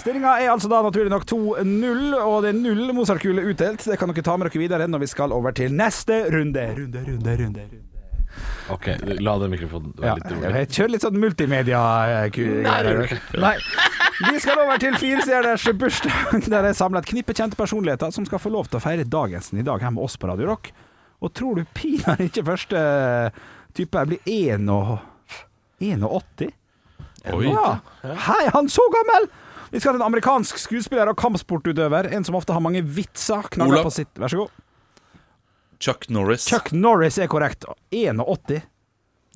[SPEAKER 3] Stillinga er altså da naturlig nok 2-0, og det er null Mozart-kule utdelt. Det kan dere ta med dere videre når vi skal over til neste runde. Runde, runde, runde, runde.
[SPEAKER 6] Ok, la den mikrofonen være
[SPEAKER 3] Ja,
[SPEAKER 6] litt rolig.
[SPEAKER 3] jeg kjører litt sånn multimedia-kule. Nei. Vi skal over til firestjerners bursdag, der jeg samler et knippe kjente personligheter som skal få lov til å feire dagensen i dag her med oss på Radio Rock. Og tror du pinadø ikke første eh, type her blir 1 og 81?
[SPEAKER 5] Oi.
[SPEAKER 3] Ja. Hei, han så gammel! Vi skal til en amerikansk skuespiller og kampsportutøver. En som ofte har mange vitser. Knaller
[SPEAKER 5] Olav.
[SPEAKER 3] på sitt Vær så god.
[SPEAKER 5] Chuck Norris.
[SPEAKER 3] Chuck Norris er korrekt. 81.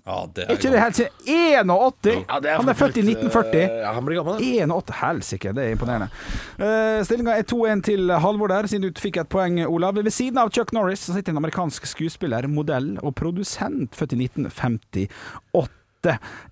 [SPEAKER 5] Ja, det
[SPEAKER 3] Er
[SPEAKER 5] er
[SPEAKER 3] ikke det helt siden 81?
[SPEAKER 4] Ja, det
[SPEAKER 3] han er født i
[SPEAKER 4] litt,
[SPEAKER 3] 1940.
[SPEAKER 4] eh, Ja, han blir gammel, da.
[SPEAKER 3] 81 Helsike, det er imponerende. Uh, Stillinga er 2-1 til Halvor der, siden du fikk et poeng, Olav. Ved siden av Chuck Norris så sitter en amerikansk skuespiller, modell og produsent, født i 1958.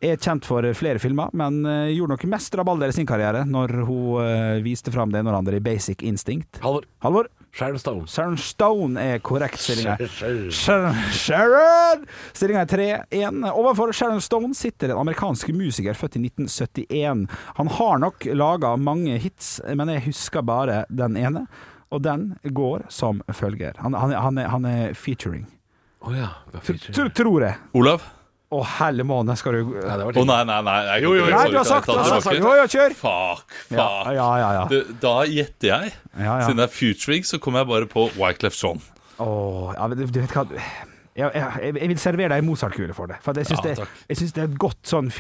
[SPEAKER 3] Er kjent for flere filmer, men eh, gjorde nok mest rabalder i sin karriere når hun eh, viste fram det når han i Basic Instinct.
[SPEAKER 6] Halvor.
[SPEAKER 3] Halvor?
[SPEAKER 6] Sharon Stone.
[SPEAKER 3] Sharon Stone er korrekt stillinga.
[SPEAKER 6] Sharon.
[SPEAKER 3] Sharon, Sharon! Stillinga er 3-1. Overfor Sharon Stone sitter en amerikansk musiker født i 1971. Han har nok laga mange hits, men jeg husker bare den ene. Og den går som følger. Han, han, han, er, han er featuring.
[SPEAKER 6] Å ja. hva
[SPEAKER 3] Tr
[SPEAKER 6] feature?
[SPEAKER 3] tr tror jeg.
[SPEAKER 5] Olav.
[SPEAKER 3] Å, helle måne, skal du
[SPEAKER 6] Nei, det var
[SPEAKER 5] Å, nei, nei, nei. nei. Jo, jo, jo,
[SPEAKER 3] Nei, du har
[SPEAKER 5] sorry,
[SPEAKER 3] sagt
[SPEAKER 5] ta
[SPEAKER 3] det! Du
[SPEAKER 5] det
[SPEAKER 3] har
[SPEAKER 5] tilbake.
[SPEAKER 3] sagt det. Jo, jo, kjør!
[SPEAKER 5] Fuck, fuck.
[SPEAKER 3] Ja, ja, ja. ja.
[SPEAKER 5] Du, da gjetter jeg.
[SPEAKER 3] Ja, ja.
[SPEAKER 5] Siden det er Futuring, så kommer jeg bare på Wyclef Jean.
[SPEAKER 3] Åh, ja, men du, du vet hva jeg, jeg, jeg vil servere deg en Mozart-kule for det. For jeg syns
[SPEAKER 5] Ja,
[SPEAKER 3] det,
[SPEAKER 5] takk.
[SPEAKER 3] jeg synes det er et godt sånn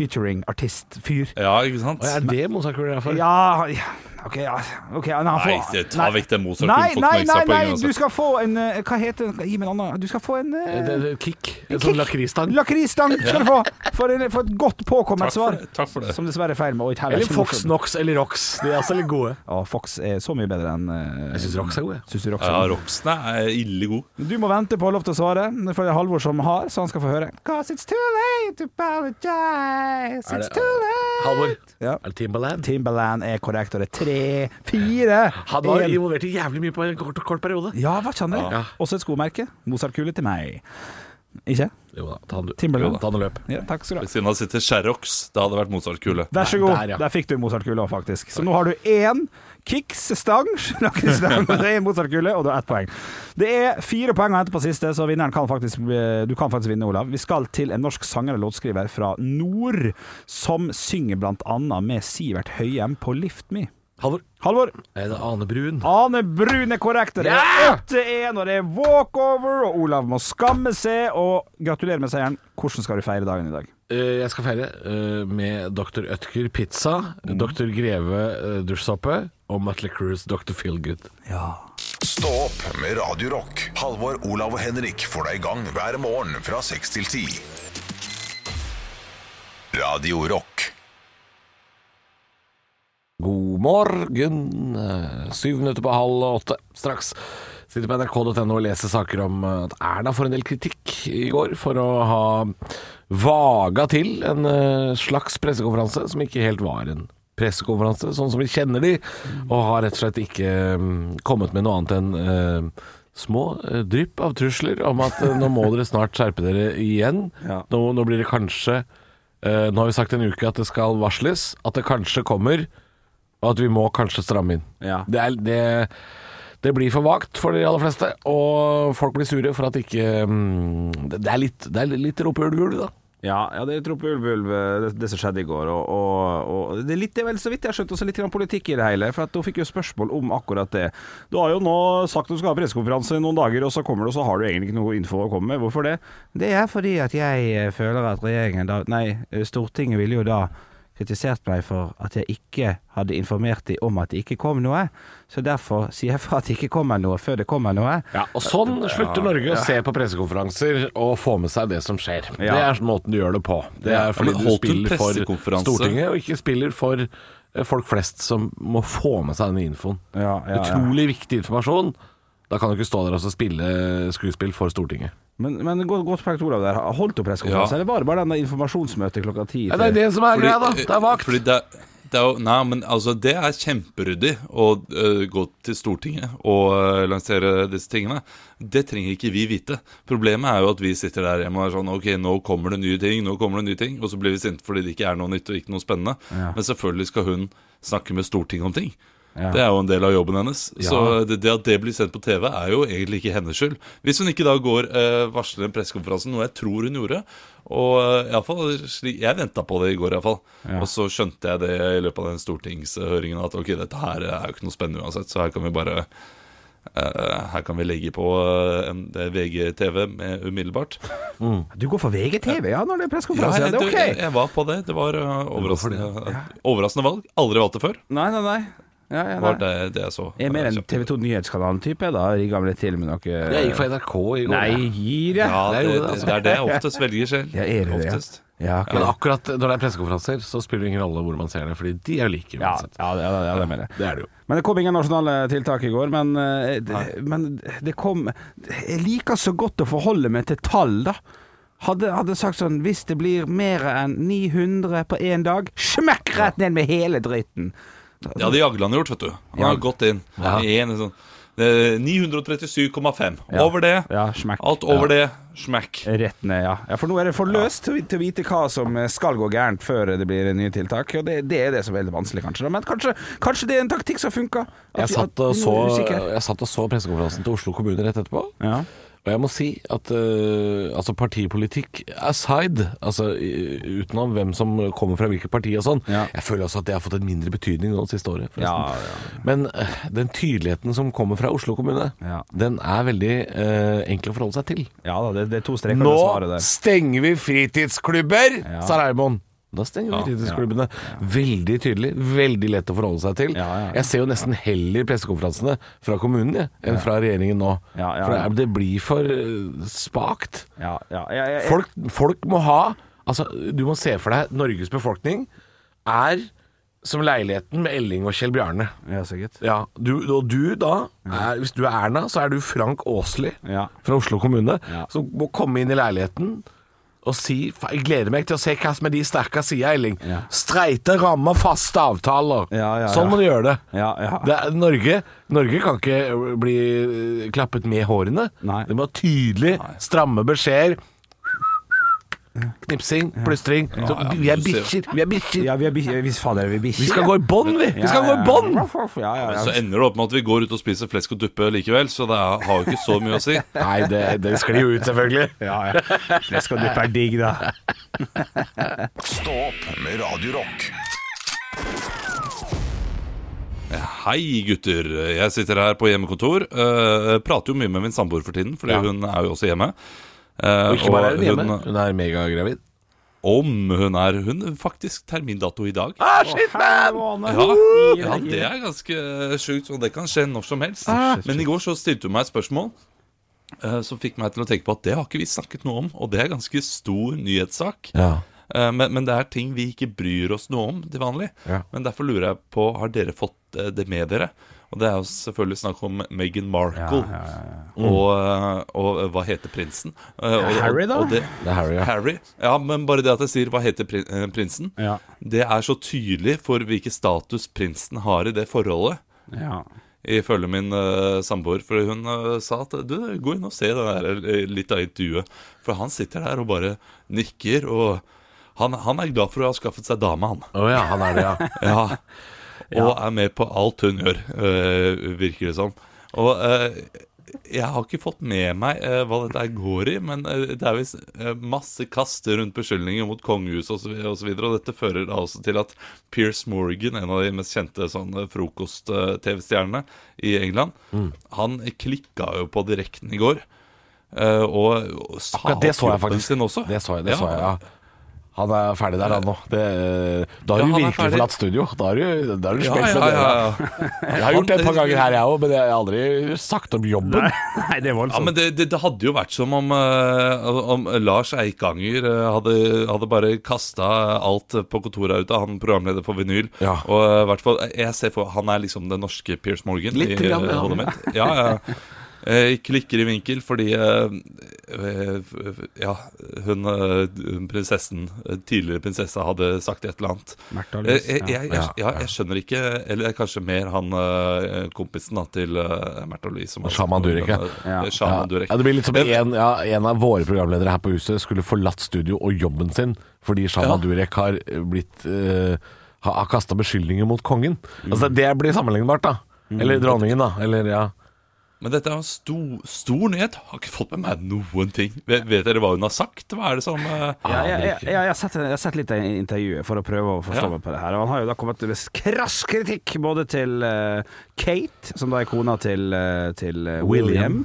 [SPEAKER 3] featuring-artist-fyr.
[SPEAKER 5] Ja, ikke sant?
[SPEAKER 6] Å, ja, er det Mozart-kuler jeg får?
[SPEAKER 3] Ja, ja OK, ja, ok, ja, nei, han
[SPEAKER 5] Nei,
[SPEAKER 3] får-
[SPEAKER 5] det- ta
[SPEAKER 3] nei.
[SPEAKER 5] vekk den Mozart-kulen,
[SPEAKER 3] Nei,
[SPEAKER 5] folk må
[SPEAKER 3] nei,
[SPEAKER 5] ikke altså.
[SPEAKER 3] nei,
[SPEAKER 5] ta
[SPEAKER 3] nei,
[SPEAKER 5] poeng uansett.
[SPEAKER 3] du skal få en eh, Hva heter den? Gi meg en annen. Du skal få en eh,
[SPEAKER 6] Det, det, kick. En
[SPEAKER 3] kick.
[SPEAKER 6] sånn lakrisstang.
[SPEAKER 3] Lakrisstang skal du få! For, en, for et godt påkommet
[SPEAKER 5] Takk for
[SPEAKER 3] svar.
[SPEAKER 5] det, takk for det.
[SPEAKER 3] Som dessverre er feil med. Oi, heller
[SPEAKER 6] Eller
[SPEAKER 3] ikke
[SPEAKER 6] Fox
[SPEAKER 3] morsomt.
[SPEAKER 6] Knox eller Rox. De er altså litt gode.
[SPEAKER 3] Å, Fox er så mye bedre enn eh,
[SPEAKER 6] Jeg syns Rox er gode.
[SPEAKER 3] Syns du Rox
[SPEAKER 5] Ja,
[SPEAKER 3] er god?
[SPEAKER 5] Roxene er ille god.
[SPEAKER 3] Du må vente på å ha lov til å svare, for det er Halvor som har, så han skal få høre. Cause it's too late to apologize,
[SPEAKER 6] Er
[SPEAKER 3] it's
[SPEAKER 6] det-
[SPEAKER 3] too late
[SPEAKER 6] Halvor.
[SPEAKER 3] Ja.
[SPEAKER 6] Er det Timbaland?
[SPEAKER 3] Timberland er korrekt, og det er tre, fire
[SPEAKER 6] Han var
[SPEAKER 3] en.
[SPEAKER 6] involvert i jævlig mye på en kort, kort periode.
[SPEAKER 3] Ja, hva kjenner jeg?
[SPEAKER 6] Ja.
[SPEAKER 3] Også et skomerke. Mozart-kule til meg. Ikke?
[SPEAKER 6] Jo da, ta den,
[SPEAKER 3] Timberland.
[SPEAKER 6] ta den løp.
[SPEAKER 3] Ja, takk skal du ha.
[SPEAKER 5] Ved siden av sitter Sherrox. Da hadde det vært Mozart-kule.
[SPEAKER 3] Vær så god.
[SPEAKER 6] Der,
[SPEAKER 3] Der,
[SPEAKER 6] ja.
[SPEAKER 3] fikk du Mozart-kula, faktisk. Så nå har du én kicks-stang, nakkestang og én Mozart-kule, og du har ett poeng. Det er fire poeng å hente på siste, så vinneren kan faktisk, bli- du kan faktisk vinne, Olav. Vi skal til en norsk sanger og låtskriver fra nord, som synger blant annet med Sivert Høyem på Lift Me.
[SPEAKER 6] Halvor. Ah.
[SPEAKER 3] Halvor.
[SPEAKER 6] Er det Ane Brun?
[SPEAKER 3] Ane Brun er korrekt. og Det er 8-1, og det er walkover, og Olav må skamme seg. Og gratulerer med seieren. Hvordan skal du feire dagen i dag?
[SPEAKER 6] Eh, jeg skal feire eh, med Dr. Ødker pizza, Dr. Greve eh, dusjsåpe og Mutley Cruise Dr. Feelgood.
[SPEAKER 1] Stå opp med Radio Rock. Halvor, Olav og Henrik får deg i gang hver morgen fra 6 til 10. Radio Rock.
[SPEAKER 6] God morgen. Eh, Syv minutter på halv åtte straks. Sitter på nrk.no og leser saker om eh, at Erna får en del kritikk i går for å ha vaga til en eh, slags pressekonferanse som ikke helt var en pressekonferanse, sånn som vi kjenner de, og har rett og slett ikke mm, kommet med noe annet enn eh, små eh, drypp av trusler om at eh, nå må dere snart skjerpe dere igjen.
[SPEAKER 3] Ja.
[SPEAKER 6] Nå, nå blir det kanskje eh, Nå har vi sagt en uke at det skal varsles, at det kanskje kommer og at vi må kanskje stramme inn.
[SPEAKER 3] Ja.
[SPEAKER 6] Det, er, det, det blir for vagt for de aller fleste, og folk blir sure for at de ikke mm, Det det er litt, det er litt rumpehullgulv, da.
[SPEAKER 3] Ja, ja, det er Tropp Ulv Ulv, eh, det, det som skjedde i går. Og, og, og det er litt, det er vel så vidt jeg har skjønt også litt grann politikk i det hele. For at hun fikk jo spørsmål om akkurat det. Du har jo nå sagt at du skal ha pressekonferanse i noen dager, og så kommer du, og så har du egentlig ikke noe info å komme med. Hvorfor det? Det er fordi at jeg eh, føler at regjeringen da Nei, eh, Stortinget ville jo da kritisert meg for at jeg ikke hadde informert dem om at det ikke kom noe. Så derfor sier jeg fra at det ikke kommer noe før det kommer noe.
[SPEAKER 6] Ja, og sånn slutter Norge å se på pressekonferanser og få med seg det som skjer.
[SPEAKER 3] Ja.
[SPEAKER 6] Det er måten du gjør det på. Det
[SPEAKER 5] Ja,
[SPEAKER 6] er fordi
[SPEAKER 5] men
[SPEAKER 6] du
[SPEAKER 5] holdt du
[SPEAKER 6] spiller for
[SPEAKER 5] pressekonferanse?
[SPEAKER 6] Stortinget, og ikke spiller for eh, folk flest som må få med seg denne infoen.
[SPEAKER 3] Ja, ja, ja.
[SPEAKER 6] Utrolig viktig informasjon. Da kan du ikke stå der og så spille skuespill for Stortinget.
[SPEAKER 3] Men, men godt, godt poeng, Olav. der. Holdt du pressekonferanse,
[SPEAKER 5] Ja.
[SPEAKER 3] eller var det bare den der informasjonsmøtet klokka ti?
[SPEAKER 6] Ja, det er det som er greia, da. Det er vagt.
[SPEAKER 5] Fordi det, er- det er jo, nei, men altså, det er kjemperyddig å øh, gå til Stortinget og øh, lansere disse tingene. Det trenger ikke vi vite. Problemet er jo at vi sitter der hjemme og er sånn Ok, nå kommer det nye ting, nå kommer det nye ting. Og så blir vi sinte fordi det ikke er noe nytt og ikke noe spennende. Men selvfølgelig skal hun snakke med Stortinget om ting. Det er jo en del av jobben hennes. Så det, det at det blir sendt på TV, er jo egentlig ikke hennes skyld. Hvis hun ikke da går eh, varsler en pressekonferanse, noe jeg tror hun gjorde Og eh, i alle fall, slik- Jeg venta på det i går, iallfall. Og så skjønte jeg det i løpet av den stortingshøringen at ok, dette her er jo ikke noe spennende uansett, så her kan vi bare eh, her kan vi legge på eh, en det er VGTV med umiddelbart.
[SPEAKER 3] Du går for VGTV, ja, når det er
[SPEAKER 5] Ja,
[SPEAKER 3] pressekonferanse?
[SPEAKER 5] jeg,
[SPEAKER 3] Ja, det
[SPEAKER 5] du, jeg,
[SPEAKER 3] er ok.
[SPEAKER 5] jeg var på det. Det var eh, overraskende, eh, overraskende valg. Aldri valgt det før.
[SPEAKER 3] Nei, nei, nei. Ja, ja,
[SPEAKER 5] Var
[SPEAKER 3] nei.
[SPEAKER 5] det det jeg så.
[SPEAKER 3] Jeg er mer en
[SPEAKER 5] Kjempe-
[SPEAKER 3] TV 2 Nyhetskanalen-type, jeg, da. Rigga vel litt til med noe
[SPEAKER 6] Jeg gikk for NRK i går.
[SPEAKER 3] Nei, gir jeg?
[SPEAKER 5] Ja,
[SPEAKER 6] det
[SPEAKER 5] det,
[SPEAKER 6] er jo
[SPEAKER 5] det,
[SPEAKER 6] det, altså.
[SPEAKER 5] er det jeg oftest velger selv.
[SPEAKER 3] Ja, er det det, ja?
[SPEAKER 5] oftest.
[SPEAKER 3] Ja, ok.
[SPEAKER 6] Men akkurat når det er pressekonferanser, så spiller det ingen rolle hvor man ser det, fordi de er jo like
[SPEAKER 3] ja,
[SPEAKER 6] uansett.
[SPEAKER 3] ja, det, ja, det, ja, det mener jeg.
[SPEAKER 6] Det er det jo.
[SPEAKER 3] Men det kom ingen nasjonale tiltak i går. Men, eh, det, men det kom Jeg liker så godt å forholde meg til tall, da. Hadde, hadde sagt sånn Hvis det blir mer enn 900 på én dag, smekk rett ned med hele dritten.
[SPEAKER 5] Det hadde Jagland gjort, vet du. Han
[SPEAKER 3] Ja.
[SPEAKER 5] har gått inn. i en sånn, eh, 937,5. Over det.
[SPEAKER 3] Ja, smekk.
[SPEAKER 5] Alt over det. Smack.
[SPEAKER 3] Rett ned, ja. ja. For nå er det for løst til å vit- til å vite hva som eh, skal gå gærent før det blir nye tiltak. Og det, det er det som er veldig vanskelig, kanskje. da. Men kanskje, kanskje det er en taktikk som funker? At
[SPEAKER 6] Jeg
[SPEAKER 3] vi-
[SPEAKER 6] satt,
[SPEAKER 3] at
[SPEAKER 6] og
[SPEAKER 3] vi er
[SPEAKER 6] så,
[SPEAKER 3] usikre.
[SPEAKER 6] jeg satt og så pressekonferansen til Oslo kommune rett etterpå.
[SPEAKER 3] Ja.
[SPEAKER 6] Og jeg må si at eh, altså partipolitikk aside, altså i- utenom hvem som kommer fra hvilket parti og sånn,
[SPEAKER 3] Ja.
[SPEAKER 6] jeg føler også at det har fått en mindre betydning nå det siste året. forresten.
[SPEAKER 3] Ja,
[SPEAKER 6] Men eh, den tydeligheten som kommer fra Oslo kommune,
[SPEAKER 3] Ja.
[SPEAKER 6] den er veldig eh, enkel å forholde seg til.
[SPEAKER 3] ja da, det, det er to streker
[SPEAKER 6] Nå
[SPEAKER 3] under svaret der.
[SPEAKER 6] stenger vi fritidsklubber,
[SPEAKER 3] Ja.
[SPEAKER 6] sa Raymond. Da stenger vi fritidsklubbene. Veldig tydelig, veldig lett å forholde seg til.
[SPEAKER 3] Ja, ja, ja.
[SPEAKER 6] Jeg ser jo nesten heller pressekonferansene fra kommunen jeg, enn fra regjeringen nå.
[SPEAKER 3] Ja, ja, ja.
[SPEAKER 6] For det, er- det blir for eh, spakt.
[SPEAKER 3] Ja, ja, ja, ja, ja.
[SPEAKER 6] Folk, folk må ha Altså, du må se for deg Norges befolkning er som leiligheten med Elling og Kjell Bjarne.
[SPEAKER 3] ja, sikkert.
[SPEAKER 6] Ja, du, og du da, er, hvis du er Erna, så er du Frank Åsli
[SPEAKER 3] Ja.
[SPEAKER 6] fra Oslo kommune,
[SPEAKER 3] Ja.
[SPEAKER 6] som må komme inn i leiligheten og si "Fa- Jeg gleder meg til å se hva som er de sterke sidene, Elling.
[SPEAKER 3] Ja.
[SPEAKER 6] Streite rammer, faste avtaler.
[SPEAKER 3] Ja, ja, ja.
[SPEAKER 6] sånn må du gjøre det.
[SPEAKER 3] Ja, ja.
[SPEAKER 6] det er, Norge, Norge kan ikke bli eh, klappet med hårene.
[SPEAKER 3] Nei.
[SPEAKER 6] Det må være tydelig, stramme beskjeder. knipsing, plystring. Så
[SPEAKER 5] ja,
[SPEAKER 6] vi er
[SPEAKER 5] du ser jo.
[SPEAKER 6] bikkjer. Vi er bikkjer.
[SPEAKER 3] Ja, vi er bikkjer. Hvis fader, vi er bikkjer.
[SPEAKER 6] Vi skal gå i bånd, vi! Vi skal gå i bånd!
[SPEAKER 3] Ja, ja, ja.
[SPEAKER 5] Så ender det opp med at vi går ut og spiser flesk og duppe likevel, så det er, har jo ikke så mye å si.
[SPEAKER 6] Nei, det, det sklir jo ut, selvfølgelig.
[SPEAKER 3] ja, ja. Flesk og dupp er digg, da.
[SPEAKER 1] Stå opp med Radio Rock.
[SPEAKER 5] Hei, gutter. Jeg sitter her på hjemmekontor. eh, prater jo mye med min samboer for tiden, fordi hun er jo også hjemme. Eh,
[SPEAKER 6] Og ikke bare er hun hjemme,
[SPEAKER 5] hun-
[SPEAKER 6] hun er megagravid.
[SPEAKER 5] Om hun er Hun faktisk termindato i dag.
[SPEAKER 6] Ah, shit, man!
[SPEAKER 5] Ja, ja, det er ganske eh, sjukt, og det kan skje når som helst. Men i går så stilte hun meg et spørsmål eh, som fikk meg til å tenke på at det har ikke vi snakket noe om, og det er ganske stor nyhetssak.
[SPEAKER 6] Ja.
[SPEAKER 5] Eh, Men, men det er ting vi ikke bryr oss noe om til vanlig.
[SPEAKER 6] Ja.
[SPEAKER 5] Men derfor lurer jeg på Har dere fått eh, det med dere? Og det er jo selvfølgelig snakk om Meghan Markle. Og, eh, og, eh, hva heter prinsen? Eh, Og,
[SPEAKER 3] Harry, da?
[SPEAKER 5] Og det,
[SPEAKER 6] Det er Harry, ja.
[SPEAKER 5] Harry. Ja, men bare det at jeg sier hva heter prin eh, prinsen,
[SPEAKER 3] Ja.
[SPEAKER 5] det er så tydelig for hvilken status prinsen har i det forholdet.
[SPEAKER 3] Ja.
[SPEAKER 5] Ifølge min eh, samboer, for hun eh, sa at du, gå inn og se det der eh, litt av intervjuet. For han sitter der og bare nikker, og han, han er glad for å ha skaffet seg dame, han.
[SPEAKER 6] Å ja, han er det, ja.
[SPEAKER 5] Ja. Og er med på alt hun gjør, eh, virker det som. Og eh, jeg har ikke fått med meg eh, hva dette her går i, men eh, det er visst eh, masse kast rundt beskyldninger mot kongehuset osv., og, så videre, og dette fører da også til at Piers Morgan, en av de mest kjente sånn, frokost-TV-stjernene i England,
[SPEAKER 6] Mm.
[SPEAKER 5] han klikka jo på direkten i går. eh, og, og sa
[SPEAKER 6] Akkurat det
[SPEAKER 5] opp
[SPEAKER 6] så jeg
[SPEAKER 5] kroppen
[SPEAKER 6] faktisk.
[SPEAKER 5] sin også.
[SPEAKER 6] Det så jeg, det så jeg ja. Han er ferdig der, han nå. Det, da har
[SPEAKER 5] Ja,
[SPEAKER 6] du
[SPEAKER 5] han er
[SPEAKER 6] virkelig
[SPEAKER 5] ferdig.
[SPEAKER 6] forlatt studio. Da har du, da har du
[SPEAKER 5] Ja,
[SPEAKER 6] spilt
[SPEAKER 5] ja,
[SPEAKER 6] med
[SPEAKER 5] ja,
[SPEAKER 6] det.
[SPEAKER 5] ja.
[SPEAKER 6] Jeg har gjort det et par ganger her, jeg òg, men jeg har aldri sagt opp jobben.
[SPEAKER 3] Nei, det er
[SPEAKER 5] Ja, men
[SPEAKER 6] liksom.
[SPEAKER 3] voldsomt.
[SPEAKER 5] det, det, det hadde jo vært som om, eh, om Lars Eikanger eh, hadde, hadde bare kasta alt på kontoret ut av han programleder for vinyl.
[SPEAKER 6] Ja.
[SPEAKER 5] Og eh, i hvert fall, jeg ser for Han er liksom den norske Piers Morgan
[SPEAKER 6] Litt
[SPEAKER 5] i eh,
[SPEAKER 6] grann, ja.
[SPEAKER 5] hodet mitt. Ja, ja. Eh, klikker i vinkel fordi eh, eh, Ja, hun eh, prinsessen, eh, tidligere prinsessa, hadde sagt et eller annet.
[SPEAKER 3] Märtha
[SPEAKER 5] Eh,
[SPEAKER 3] Louise,
[SPEAKER 5] Jeg, jeg, jeg,
[SPEAKER 6] ja.
[SPEAKER 5] ja, jeg skjønner ikke Eller kanskje mer han eh, kompisen da, til eh, Märtha Louise. som har-
[SPEAKER 6] Shaman Durek, ja.
[SPEAKER 5] Eh,
[SPEAKER 6] Ja.
[SPEAKER 5] Shaman Durek.
[SPEAKER 6] Ja, det blir litt som E.
[SPEAKER 5] Eh,
[SPEAKER 6] en, ja, en av våre programledere her på huset skulle forlatt studio og jobben sin fordi Shama
[SPEAKER 5] Ja.
[SPEAKER 6] Durek har blitt eh, har, har kasta beskyldninger mot kongen. Altså Det blir sammenlignbart, da. Eller dronningen, da. Eller ja.
[SPEAKER 5] Men dette er jo en stor, stor nyhet. Har ikke fått med meg noen ting. Vet, vet dere hva hun har sagt? Hva er det som eh,
[SPEAKER 3] Ja, jeg, jeg, jeg, jeg, har sett, jeg har sett litt av intervjuet for å prøve å forstå
[SPEAKER 5] Ja.
[SPEAKER 3] meg på det her. Og han har jo da kommet med krass kritikk både til eh, Kate, som da er kona til, eh, til eh, William,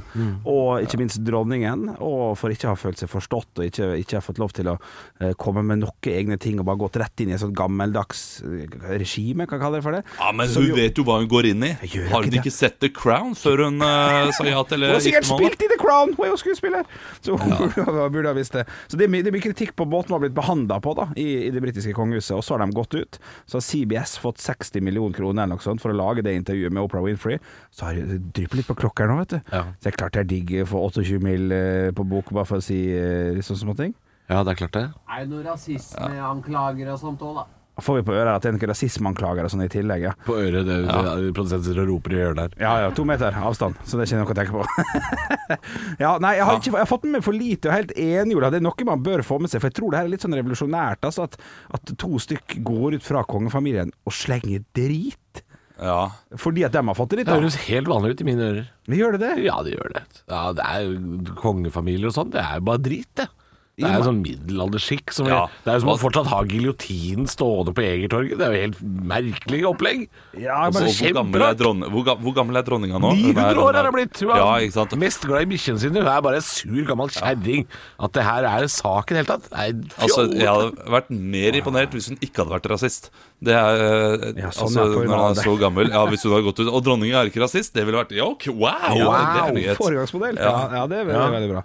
[SPEAKER 3] og ikke minst dronningen, og for ikke å ha følt seg forstått og ikke, ikke ha fått lov til å eh, komme med noen egne ting og bare gått rett inn i et sånt gammeldags eh, regime, kan jeg kalle det for det.
[SPEAKER 5] Ja, men
[SPEAKER 3] Som
[SPEAKER 5] hun
[SPEAKER 3] jo-
[SPEAKER 5] vet jo hva hun går inn i.
[SPEAKER 3] Jeg gjør
[SPEAKER 5] Har
[SPEAKER 3] ikke
[SPEAKER 5] hun
[SPEAKER 3] det.
[SPEAKER 5] ikke sett The Crown før hun eh, sa ja til
[SPEAKER 3] Hun
[SPEAKER 5] eh,
[SPEAKER 3] har sikkert
[SPEAKER 5] giftermålet?
[SPEAKER 3] spilt i The Crown, hun er jo skuespiller! Så hun burde, burde ha visst det. Så det er, mye, det er mye kritikk på måten hun har blitt behandla på da, i, i det britiske kongehuset, og så har de gått ut. Så har CBS fått 60 millioner kroner eller noe sånt for å lage det intervjuet med Oprah Winfrey. Så har det drypper litt på klokka her nå, vet du.
[SPEAKER 6] Ja.
[SPEAKER 3] Så det er klart det er digg å få 28 mil eh, på bok bare for å si eh, sånne små ting.
[SPEAKER 6] ja, det er klart det.
[SPEAKER 7] Er det noen rasismeanklager og sånt òg, da?
[SPEAKER 3] Da får vi på øret at det er noen rasismeanklager og sånn i tillegg, ja.
[SPEAKER 6] På øret det, det- Produsenten sitter og roper i hjørnet her.
[SPEAKER 3] Ja, ja, to meter avstand, så det er ikke noe å tenke på. ja, nei, jeg har, ikke, jeg har fått med meg for lite, og jeg er helt enig, Ola. Det er noe man bør få med seg, for jeg tror det her er litt sånn revolusjonært. Altså, at, at to stykk går ut fra kongefamilien og slenger drit
[SPEAKER 5] Ja.
[SPEAKER 3] fordi at de har fått det litt.
[SPEAKER 6] Det
[SPEAKER 3] Da.
[SPEAKER 6] høres helt vanlig ut i mine ører.
[SPEAKER 3] Vi gjør det det?
[SPEAKER 6] Ja, det gjør det. Ja, det er jo Kongefamilier og sånn, det er jo bare drit, det. Det er jo sånn middelalderskikk. Som
[SPEAKER 5] Ja.
[SPEAKER 6] Det er jo som å fortsatt ha giljotinen stående på Egertorget. Det er jo helt merkelig opplegg.
[SPEAKER 3] Ja,
[SPEAKER 5] Så
[SPEAKER 3] men,
[SPEAKER 5] hvor, gammel er dronn- hvor, ga- hvor gammel er dronninga nå? Hun
[SPEAKER 6] 900 år er hun blitt! Hun er
[SPEAKER 5] Ja, ikke sant?
[SPEAKER 6] mest glad i bikkjene sine. Hun er bare en sur, gammel kjerring. At det her er saken i det hele tatt. Det er
[SPEAKER 5] Altså,
[SPEAKER 6] fjollete.
[SPEAKER 5] Jeg hadde vært mer imponert hvis hun ikke hadde vært rasist. Det er, eh,
[SPEAKER 3] Ja, sånn
[SPEAKER 5] altså,
[SPEAKER 3] er det på grunn
[SPEAKER 5] når
[SPEAKER 3] av
[SPEAKER 5] han er
[SPEAKER 3] det.
[SPEAKER 5] så gammel Ja, Hvis hun hadde gått ut Og dronninga er ikke rasist, det ville vært ja, ok, wow! det er nyhet.
[SPEAKER 3] Foregangsmodell. Ja. Ja, det er veldig, veldig bra.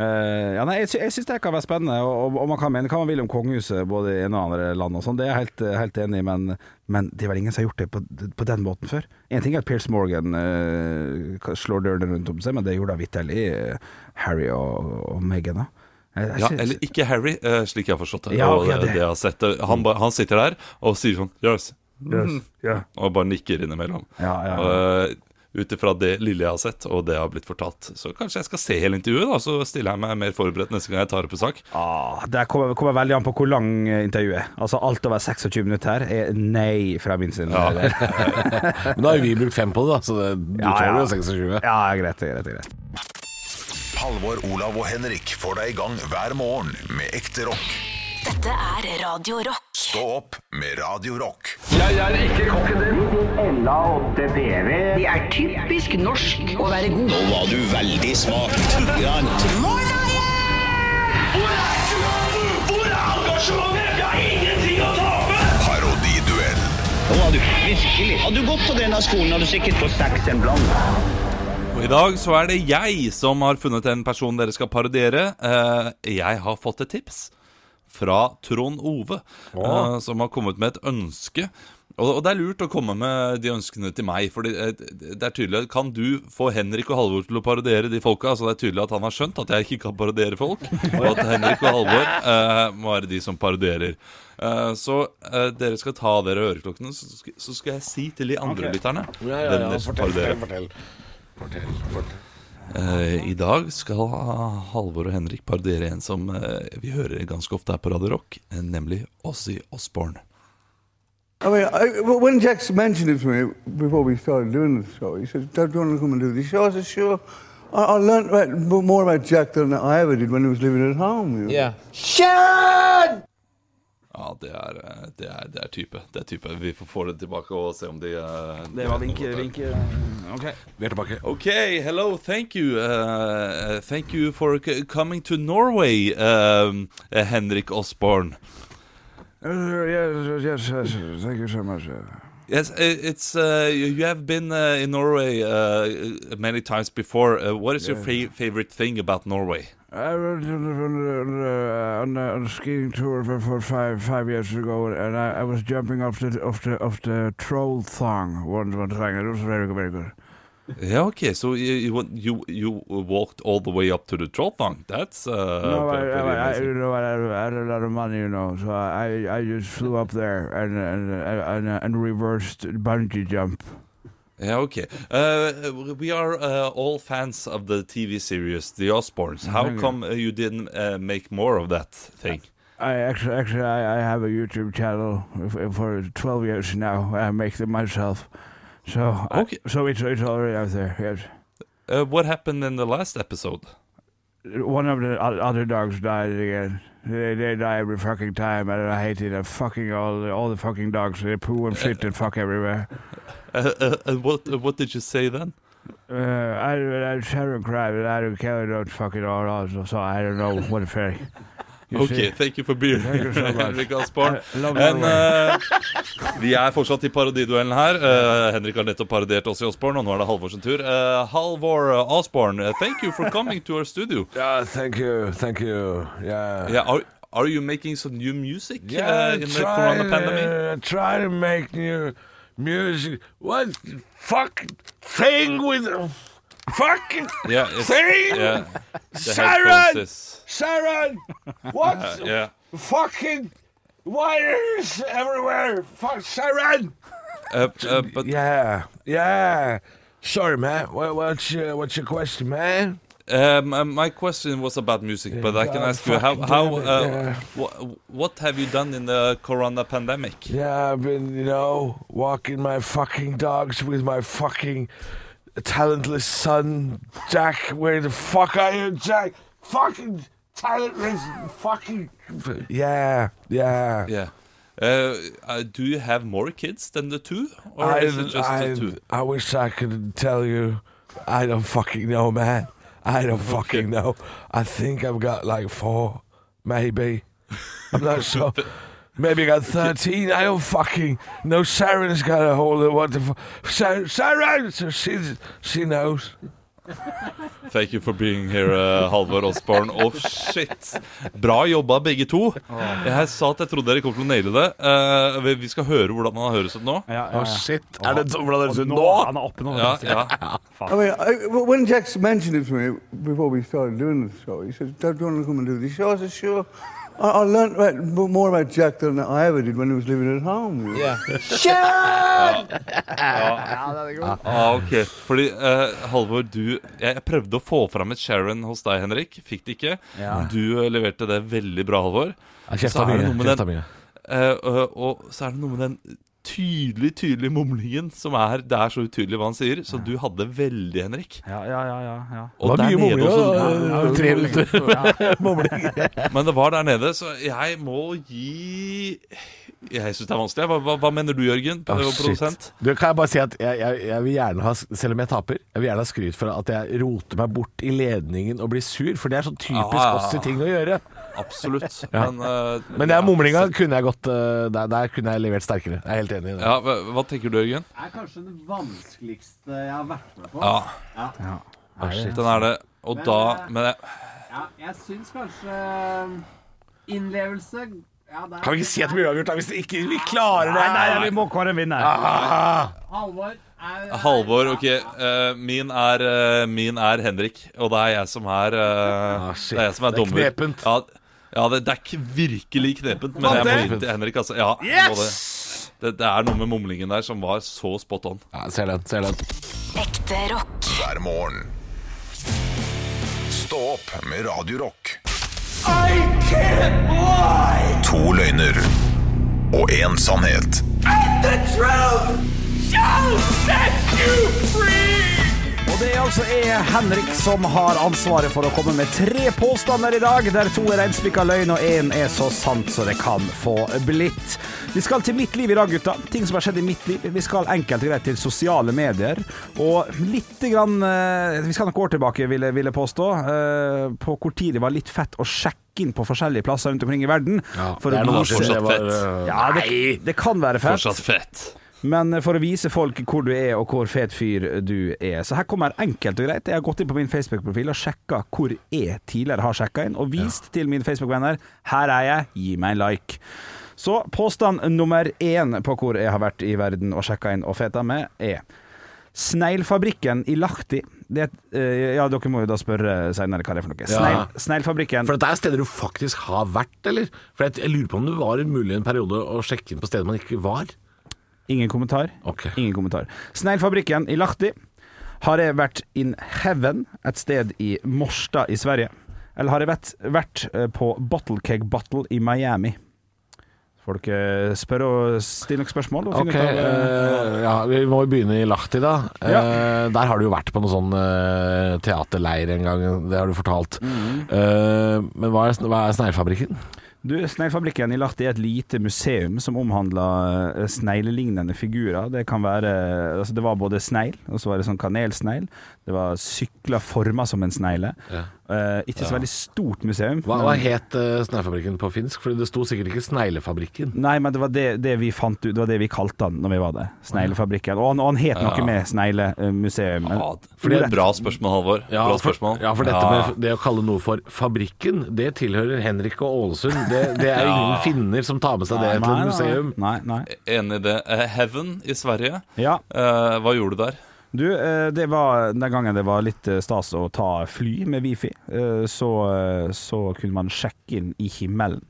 [SPEAKER 3] Eh, ja, nei, jeg, sy jeg syns det kan være spennende, og, og, og man kan mene hva man vil om kongehuset både i ene og andre land og sånn, det er jeg helt, helt enig i, men, men det er vel ingen som har gjort det på, på den måten før. En ting er at Piers Morgan eh, slår dørene rundt om seg, men det gjorde da vitterlig eh, Harry og, og Meghan, da. Jeg- jeg
[SPEAKER 5] Ja,
[SPEAKER 3] syns-
[SPEAKER 5] eller ikke Harry, eh, slik jeg har forstått det.
[SPEAKER 3] Ja,
[SPEAKER 5] og
[SPEAKER 3] ok,
[SPEAKER 5] det,
[SPEAKER 3] det.
[SPEAKER 5] det jeg har sett det. Han, ba- han sitter der og sier sånn Yes.
[SPEAKER 3] Yes, ja.
[SPEAKER 5] Og bare nikker innimellom.
[SPEAKER 3] Ja, ja, ja.
[SPEAKER 5] Og, eh, Ut ifra det lille jeg har sett, og det jeg har blitt fortalt. Så kanskje jeg skal se hele intervjuet, da, så stiller jeg meg mer forberedt neste gang jeg tar opp en sak.
[SPEAKER 10] Ah, det kommer, kommer veldig an på hvor lang eh, intervjuet er. Altså Alt over 26 minutter her er nei fra min side. Ja,
[SPEAKER 6] Men da har jo vi brukt fem på det, da, så det, du
[SPEAKER 10] Ja,
[SPEAKER 6] tåler
[SPEAKER 10] ja.
[SPEAKER 6] jo 26.
[SPEAKER 10] ja greit, greit, greit.
[SPEAKER 1] Halvor, Olav og Henrik får deg i gang hver morgen med ekte rock.
[SPEAKER 2] Dette er Radio Rock.
[SPEAKER 1] Stå opp med Radio Rock.
[SPEAKER 11] Det er typisk norsk å være god. Nå var du veldig smak.
[SPEAKER 1] Parodiduell.
[SPEAKER 11] Nå var du virkelig. Hadde du gått på denne skolen, hadde du sikkert fått seks en blant.
[SPEAKER 5] Og I dag så er det jeg som har funnet en person dere skal parodiere. Eh, Jeg har fått et tips fra Trond Ove, eh, som har kommet med et ønske. Og og det er lurt å komme med de ønskene til meg. For det er tydelig Kan du få Henrik og Halvor til å parodiere de folka? Altså det er tydelig at han har skjønt at jeg ikke kan parodiere folk. Og at Henrik og Halvor eh, må være de som parodierer. Eh, så eh, dere skal ta av dere øreklokkene, så skal, så skal jeg si til de andre lytterne hvem dere skal parodiere. Eh, I dag skal eh, Halvor og Henrik parodiere en som eh, vi hører ganske ofte her på Radio Rock, eh, nemlig Ozzy Osbourne.
[SPEAKER 3] I mean, I, well, when Jax mentioned it to me before we started doing the show, he said, "Dad, do you want to come and do this show?" I said, "Sure." I, I learned about, more about Jack than I ever did when he was living at home. You know? Yeah.
[SPEAKER 5] Ja, det er, eh, det er, det er type. Det er type. Vi får få det tilbake og se om de eh,
[SPEAKER 6] Vi er tilbake.
[SPEAKER 5] Okay, hello, thank you. Uh, uh, thank you for c- coming to Norway, um, uh, Henrik Osborne.
[SPEAKER 3] Yes, yes, yes, yes. Thank you so much. sir.
[SPEAKER 5] Yes, i- it's uh, you you have been uh, in Norway uh, many times before. Uh, what is your fa- favorite thing about Norway?
[SPEAKER 3] I went on, the- on, the- on, the- on, the- on a skiing tour for, for five five years ago, and I, I was jumping off the off the off the troll thong one one time. It was very very good.
[SPEAKER 5] Yeah, okay. So you you went- you, you walked all the way up to the troll thong. That's uh,
[SPEAKER 3] No,
[SPEAKER 5] pre-
[SPEAKER 3] I,
[SPEAKER 5] pretty
[SPEAKER 3] I, I,
[SPEAKER 5] amazing.
[SPEAKER 3] you know, I had, I had a lot of money, you know, so I, I just flew up there and and and, and reversed bungee jump.
[SPEAKER 5] yeah, okay. Uh, we are uh, all fans of the TV series The Osbournes. How
[SPEAKER 3] Mm-hmm.
[SPEAKER 5] come uh, you didn't uh, make more of that thing?
[SPEAKER 3] I actually, actually, I, I have a YouTube channel f- for 12 years now. I make them myself, so I-
[SPEAKER 5] Okay.
[SPEAKER 3] so it's it's already out there. Yes.
[SPEAKER 5] Uh, what happened in the last episode?
[SPEAKER 3] One of the o- other dogs died again. They, they die every fucking time, and I hate it. I fucking all the, all the fucking dogs. They poo and shit and fuck everywhere.
[SPEAKER 5] Uh, uh, uh, what uh, what did you say then?
[SPEAKER 3] Uh, I, I Sharon cried, and I don't care. I don't fucking all also, so I don't know what to say. You
[SPEAKER 5] Ok,
[SPEAKER 3] see?
[SPEAKER 5] thank you for beer.
[SPEAKER 3] Thank you so much.
[SPEAKER 5] Henrik Asborn.
[SPEAKER 3] I love you
[SPEAKER 5] Men
[SPEAKER 3] all.
[SPEAKER 5] eh, vi er fortsatt i parodiduellen her. Eh, Henrik har nettopp parodiert oss i Osborn, og nå er det Halvor sin tur. Eh, Halvor Osborn, eh, thank you for coming to our studio.
[SPEAKER 3] Yeah, thank you, thank you. Yeah.
[SPEAKER 5] Yeah, are, are you making some new music uh, in the
[SPEAKER 3] try,
[SPEAKER 5] corona pandemic?
[SPEAKER 3] uh, try to make new music. What fuck thing with fucking
[SPEAKER 5] Yeah, it's-
[SPEAKER 3] thing?
[SPEAKER 5] yeah, the
[SPEAKER 3] Siren!
[SPEAKER 5] headphones is- uh,
[SPEAKER 3] Sharon, what
[SPEAKER 5] yeah.
[SPEAKER 3] fucking wires everywhere? Fuck Sharon.
[SPEAKER 5] Uh, uh, but
[SPEAKER 3] Yeah, yeah. Sorry, man. What, what's your, what's your question, man?
[SPEAKER 5] um, uh, my question was about music, but I can
[SPEAKER 3] Yeah,
[SPEAKER 5] ask you how
[SPEAKER 3] fucking
[SPEAKER 5] how
[SPEAKER 3] damn it,
[SPEAKER 5] uh,
[SPEAKER 3] yeah.
[SPEAKER 5] wha- what have you done in the corona pandemic?
[SPEAKER 3] Yeah, I've been, you know, walking my fucking dogs with my fucking talentless son, Jack. Where the fuck are you, Jack? Fucking talentless, fucking. Yeah, yeah.
[SPEAKER 5] Yeah. Uh, uh, do you have more kids than the two, or
[SPEAKER 3] I,
[SPEAKER 5] is it just
[SPEAKER 3] I,
[SPEAKER 5] the two?
[SPEAKER 3] I wish I could tell you. I don't fucking know, man. I don't fucking know. I think I've got like four, maybe. I'm not sure. Maybe I got 13. I don't fucking know. Sharon's got a whole lot. What the fuck? Sharon, Sharon! So she's, she knows.
[SPEAKER 5] Thank you for being here, uh, Halvor Osborn. Oh, shit! Bra jobba, begge to. Jeg sa at jeg trodde dere kom til å naile det. Eh, vi- vi skal høre hvordan han høres ut nå.
[SPEAKER 10] Ja, ja, ja.
[SPEAKER 6] Shit. Er det hvordan høres det ut
[SPEAKER 10] Nå,
[SPEAKER 6] nå?
[SPEAKER 10] han er oppe nå.
[SPEAKER 5] Ja, ja.
[SPEAKER 3] I mean, I, when Jax mentioned it to me before we started doing the show, he said, "Dad, do you want to come and do this show?" I said, "Sure."
[SPEAKER 12] I, I learned about, more about Jack than I ever did when he was living at home. Yeah. Jack!
[SPEAKER 5] Ja, ah, ok. Fordi, eh, Halvor, du Jeg prøvde å få fram et Sharon hos deg, Henrik. Fikk det ikke.
[SPEAKER 6] Ja.
[SPEAKER 5] Du eh, leverte det veldig bra, Halvor.
[SPEAKER 6] Ja, kjefta
[SPEAKER 5] Så er det
[SPEAKER 6] mye,
[SPEAKER 5] noe med
[SPEAKER 6] kjefta
[SPEAKER 5] den-
[SPEAKER 6] mye.
[SPEAKER 5] eh, og- og så er det noe med den tydelig, tydelige mumlingen som er Det er så utydelig hva han sier, så du hadde veldig, Henrik.
[SPEAKER 3] Ja, ja, ja. ja, ja.
[SPEAKER 5] Og der nede også
[SPEAKER 3] Ja, ja, ja.
[SPEAKER 5] Men det var der nede, så jeg må gi Jeg syns det er vanskelig. Hva, hva, hva mener du, Jørgen?
[SPEAKER 6] Åh,
[SPEAKER 5] Produsent?
[SPEAKER 6] Ah, shit. Du, kan jeg bare si at jeg, jeg, jeg vil gjerne ha, selv om jeg taper, jeg vil gjerne ha skryt for at jeg roter meg bort i ledningen og blir sur, for det er så typisk
[SPEAKER 5] Ah.
[SPEAKER 6] oss i ting å gjøre.
[SPEAKER 5] Absolutt.
[SPEAKER 6] Ja.
[SPEAKER 5] Men, eh,
[SPEAKER 6] Men den mumlinga kunne jeg godt eh, der, der kunne jeg levert sterkere. Jeg er helt enig i det.
[SPEAKER 5] ja, hva, hva tenker du, Jørgen?
[SPEAKER 7] er kanskje den vanskeligste jeg har vært med på.
[SPEAKER 5] Ja.
[SPEAKER 7] ja.
[SPEAKER 5] Ah, shit, den er det. Og
[SPEAKER 7] Men,
[SPEAKER 5] da
[SPEAKER 7] eh,
[SPEAKER 5] Men jeg
[SPEAKER 7] ja jeg syns kanskje innlevelse ja, der-
[SPEAKER 6] Kan vi ikke si at det blir uavgjort da, hvis vi ikke vi klarer det? Ah.
[SPEAKER 3] Nei, nei, vi må kåre en vinner.
[SPEAKER 7] Halvor er
[SPEAKER 5] uh, Halvor, ok. eh, min, er, eh, min er Henrik, og det er jeg som er eh,
[SPEAKER 6] Ah, shit.
[SPEAKER 5] Det er jeg som er
[SPEAKER 6] Det er
[SPEAKER 5] dommer.
[SPEAKER 6] knepent.
[SPEAKER 5] Ja, ja det, det er k- virkelig knepent, men jeg må
[SPEAKER 6] Vant
[SPEAKER 5] gi
[SPEAKER 6] det?
[SPEAKER 5] til Henrik, altså. Ja, jeg må det. det, det er noe med mumlingen der som var så spot on.
[SPEAKER 6] Ja, ser den, ser den.
[SPEAKER 2] Ekte rock.
[SPEAKER 1] hver morgen. Stå opp med Radio Rock. To løgner og én sannhet.
[SPEAKER 3] Og det er altså jeg, Henrik, som har ansvaret for å komme med tre påstander i dag, der to er reinspikka løgn og én er så sant så det kan få blitt. Vi skal til mitt liv i dag, gutta. Ting som har skjedd i mitt liv. Vi skal enkelt og greit til sosiale medier. Og litt grann eh, Vi skal nok år tilbake, vil jeg, vil jeg påstå, eh, på hvor tid det var litt fett å sjekke inn på forskjellige plasser rundt omkring i verden.
[SPEAKER 6] Ja,
[SPEAKER 3] for
[SPEAKER 6] det
[SPEAKER 3] å
[SPEAKER 6] er noe
[SPEAKER 3] vise-
[SPEAKER 6] som skjer,
[SPEAKER 5] Fortsatt
[SPEAKER 6] var, eh,
[SPEAKER 3] ja, det, det kan være fett.
[SPEAKER 5] Fortsatt fett.
[SPEAKER 3] Men for å vise folk hvor du er, og hvor fet fyr du er. Så her kommer enkelt og greit. Jeg har gått inn på min Facebook-profil og sjekka hvor jeg tidligere har sjekka inn, og vist til mine Facebook-venner her er jeg, gi meg en like. Så påstand nummer én på hvor jeg har vært i verden og sjekka inn og feta med, er Sneglfabrikken i Lahti det, er et- eh, Ja, dere må jo da spørre seinere hva det er for noe.
[SPEAKER 6] Ja.
[SPEAKER 3] Snegl, sneglfabrikken
[SPEAKER 6] For dette er steder du faktisk har vært, eller? For jeg, jeg lurer på om det var mulig en periode å sjekke inn på steder man ikke var.
[SPEAKER 3] Ingen kommentar.
[SPEAKER 6] Ok.
[SPEAKER 3] Ingen kommentar. Sneglfabrikken i Lahti har jeg vært in heaven, et sted i Morstad i Sverige. Eller har jeg vært, vært eh, på Bottle Keg Battle i Miami? Folk eh, spør og stiller nok spørsmål. Og
[SPEAKER 6] Ok,
[SPEAKER 3] finner ut av, eh,
[SPEAKER 6] eh, ja, Vi må jo begynne i Lahti, da. Eh, der har du jo vært på noen sånn eh, teaterleir en gang, det har du fortalt.
[SPEAKER 3] Mhm.
[SPEAKER 6] Eh, men hva er, sn- hva er Sneglfabrikken?
[SPEAKER 3] Du, Sneglfabrikken i Lahti er et lite museum som omhandler eh, sneglelignende figurer. Det kan være altså Det var både snegl, og så var det sånn kanelsnegl. Det var sykler forma som en snegle. Eh, ikke så veldig stort museum.
[SPEAKER 6] Hva,
[SPEAKER 3] men-
[SPEAKER 6] hva het eh, Sneglfabrikken på finsk? Fordi det sto sikkert ikke Sneglefabrikken.
[SPEAKER 3] Nei, men det var det, det vi fant ut, det var det vi kalte han når vi var der. Sneglefabrikken. Og han, og han het noe med Sneglemuseum. men-
[SPEAKER 5] Ja, for det er et bra spørsmål, Halvor. bra spørsmål.
[SPEAKER 6] For, ja, for dette med det å kalle noe for Fabrikken, det tilhører Henrik og Ålesund. Det, det er ingen finner som tar med seg det til
[SPEAKER 3] nei,
[SPEAKER 6] et
[SPEAKER 3] nei,
[SPEAKER 6] museum.
[SPEAKER 3] Nei, nei.
[SPEAKER 5] Enig i det. Eh, Heaven i Sverige.
[SPEAKER 3] Ja,
[SPEAKER 5] Eh, hva gjorde du der?
[SPEAKER 3] du, eh, det var den gangen det var litt eh, stas å ta fly med wifi, eh, så, eh, så kunne man sjekke inn i himmelen.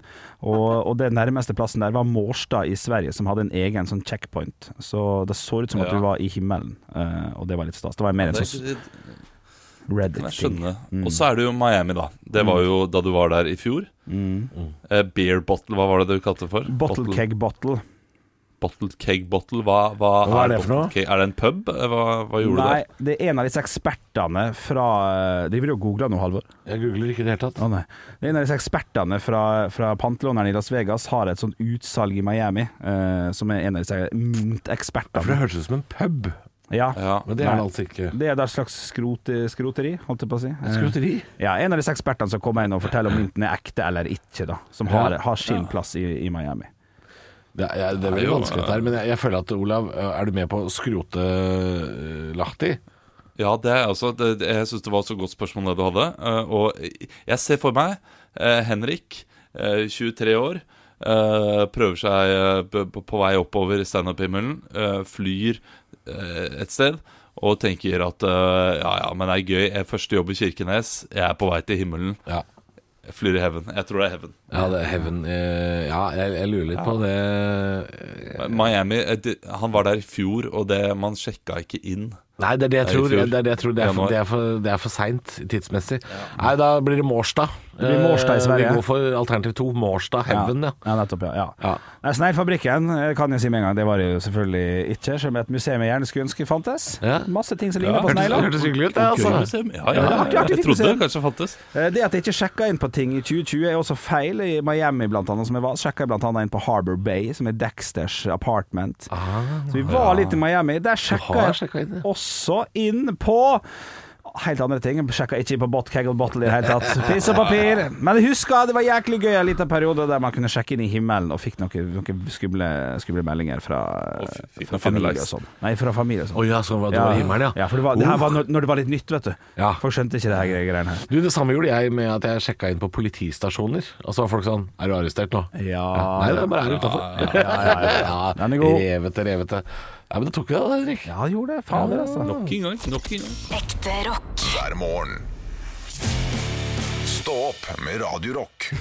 [SPEAKER 3] Og, og det nærmeste plassen der var Mårstad i Sverige, som hadde en egen sånn checkpoint. Så det så ut som at
[SPEAKER 5] Ja.
[SPEAKER 3] du var i himmelen, eh, og det var litt stas. Det var mer en
[SPEAKER 5] Det,
[SPEAKER 3] sånn
[SPEAKER 5] det, kan jeg
[SPEAKER 3] Reddit-ting.
[SPEAKER 5] skjønne.
[SPEAKER 6] Mm.
[SPEAKER 5] Og så er det jo Miami, da. Det var jo da du var der i fjor.
[SPEAKER 6] Mm.
[SPEAKER 5] Eh, beer bottle, hva var det du kalte det for?
[SPEAKER 3] Bottle keg bottle.
[SPEAKER 5] Bottled keg bottle, hva, hva,
[SPEAKER 6] Hva er det for
[SPEAKER 5] bottled
[SPEAKER 6] noe?
[SPEAKER 5] Keg? Er det en pub? Eh, Hva, hva gjorde
[SPEAKER 3] Nei,
[SPEAKER 5] du der?
[SPEAKER 3] det er en av disse ekspertene fra eh, Driver du og googler nå, Halvor?
[SPEAKER 6] Jeg googler ikke i det hele tatt.
[SPEAKER 3] Å nei. Det er en av disse ekspertene fra, fra pantelåneren i Las Vegas har et sånt utsalg i Miami, eh, som er en av disse
[SPEAKER 6] For det
[SPEAKER 3] myntekspertene.
[SPEAKER 6] hørtes ut som en pub,
[SPEAKER 3] Ja.
[SPEAKER 5] Ja.
[SPEAKER 6] men det er det
[SPEAKER 3] Nei.
[SPEAKER 6] altså ikke.
[SPEAKER 3] Det er da et slags skrot, skroteri, holdt jeg på å si. Eh,
[SPEAKER 6] Skroteri?
[SPEAKER 3] Ja, en av disse ekspertene som kommer inn og forteller om mynten er ekte eller ikke, da. Som har, har sin plass i, i Miami.
[SPEAKER 6] Det er, jeg- det er veldig
[SPEAKER 5] jo,
[SPEAKER 6] vanskelig dette her, men jeg, jeg føler at Olav, er du med på å skrote eh, Lahti?
[SPEAKER 5] Ja, det er altså det, det- Jeg syns det var så godt spørsmål det du hadde. Eh, og jeg ser for meg eh, Henrik, eh, 23 år, eh, prøver seg eh, på- på, på vei oppover standup-himmelen, eh, flyr eh, et sted og tenker at eh, ja, ja, men det er gøy. Jeg er første jobb i Kirkenes, jeg er på vei til himmelen.
[SPEAKER 6] Ja.
[SPEAKER 5] Eh, Jeg flyr i heaven. Jeg tror det er heaven.
[SPEAKER 6] Ja, det er heaven eh, Ja, jeg, jeg lurer litt på det
[SPEAKER 5] Miami eh, det- Han var der i fjor, og det, man sjekka ikke inn.
[SPEAKER 6] Nei, det er det jeg
[SPEAKER 5] Nei, i
[SPEAKER 6] tror. Det
[SPEAKER 5] fjor.
[SPEAKER 6] er det, jeg tror. det er for,
[SPEAKER 5] Januar.
[SPEAKER 6] det er for, det er for seint tidsmessig. Nei, da blir det Mårstad.
[SPEAKER 3] Det blir Mårstad i
[SPEAKER 6] Eh,
[SPEAKER 3] Sverige.
[SPEAKER 6] Vi går for alternativ to, Mårstad Heaven, ja.
[SPEAKER 3] Ja, nettopp, ja. ja. Nei, Sneglfabrikken eh, kan jeg si med en gang, det var det jo selvfølgelig ikke. Som et museum jeg gjerne skulle ønske fantes. Masse ting som ligner på snegler.
[SPEAKER 6] altså.
[SPEAKER 5] Ja, ja,
[SPEAKER 3] Altså, Ja, det er artig, artig
[SPEAKER 5] jeg trodde
[SPEAKER 3] museum.
[SPEAKER 5] det kanskje fantes.
[SPEAKER 3] Eh, Det at jeg ikke sjekka inn på ting i 2020 er også feil. I Miami blant annet, som jeg var, sjekka jeg blant annet inn på Harbor Bay, som er Dexters apartment. så vi var
[SPEAKER 6] Ah, ja.
[SPEAKER 3] litt i Miami. Der sjekka
[SPEAKER 6] har
[SPEAKER 3] jeg også inn på Helt andre ting. Sjekka ikke inn på bot, kegel, bottle i det hele tatt. Piss og papir. Men jeg husker det var jæklig gøy en liten periode der man kunne sjekke inn i himmelen og fikk noen, noen skumle, skumle meldinger fra,
[SPEAKER 5] fikk
[SPEAKER 3] fra
[SPEAKER 5] noen fine
[SPEAKER 3] familie og
[SPEAKER 5] likes.
[SPEAKER 3] sånn. Nei, fra familie og sånn.
[SPEAKER 6] Å ja, så det var himmelen, ja.
[SPEAKER 3] for det, var, det her
[SPEAKER 6] Uh.
[SPEAKER 3] var når, når det var litt nytt, vet du.
[SPEAKER 6] Ja.
[SPEAKER 3] Folk skjønte ikke det her greiene her.
[SPEAKER 6] Du, Det samme gjorde jeg med at jeg sjekka inn på politistasjoner. Og så var folk sånn Er du arrestert nå?
[SPEAKER 3] Ja,
[SPEAKER 6] Nei, det er bare her utafor. Ja,
[SPEAKER 3] Den er god.
[SPEAKER 6] Revete, revete. Ja, men det tok jo det, Henrik.
[SPEAKER 3] Ja, det gjorde det. Fader, altså.
[SPEAKER 5] Nok en gang. Nok en gang.
[SPEAKER 2] Ekte rock.
[SPEAKER 1] hver morgen. Stå opp med Radio Rock.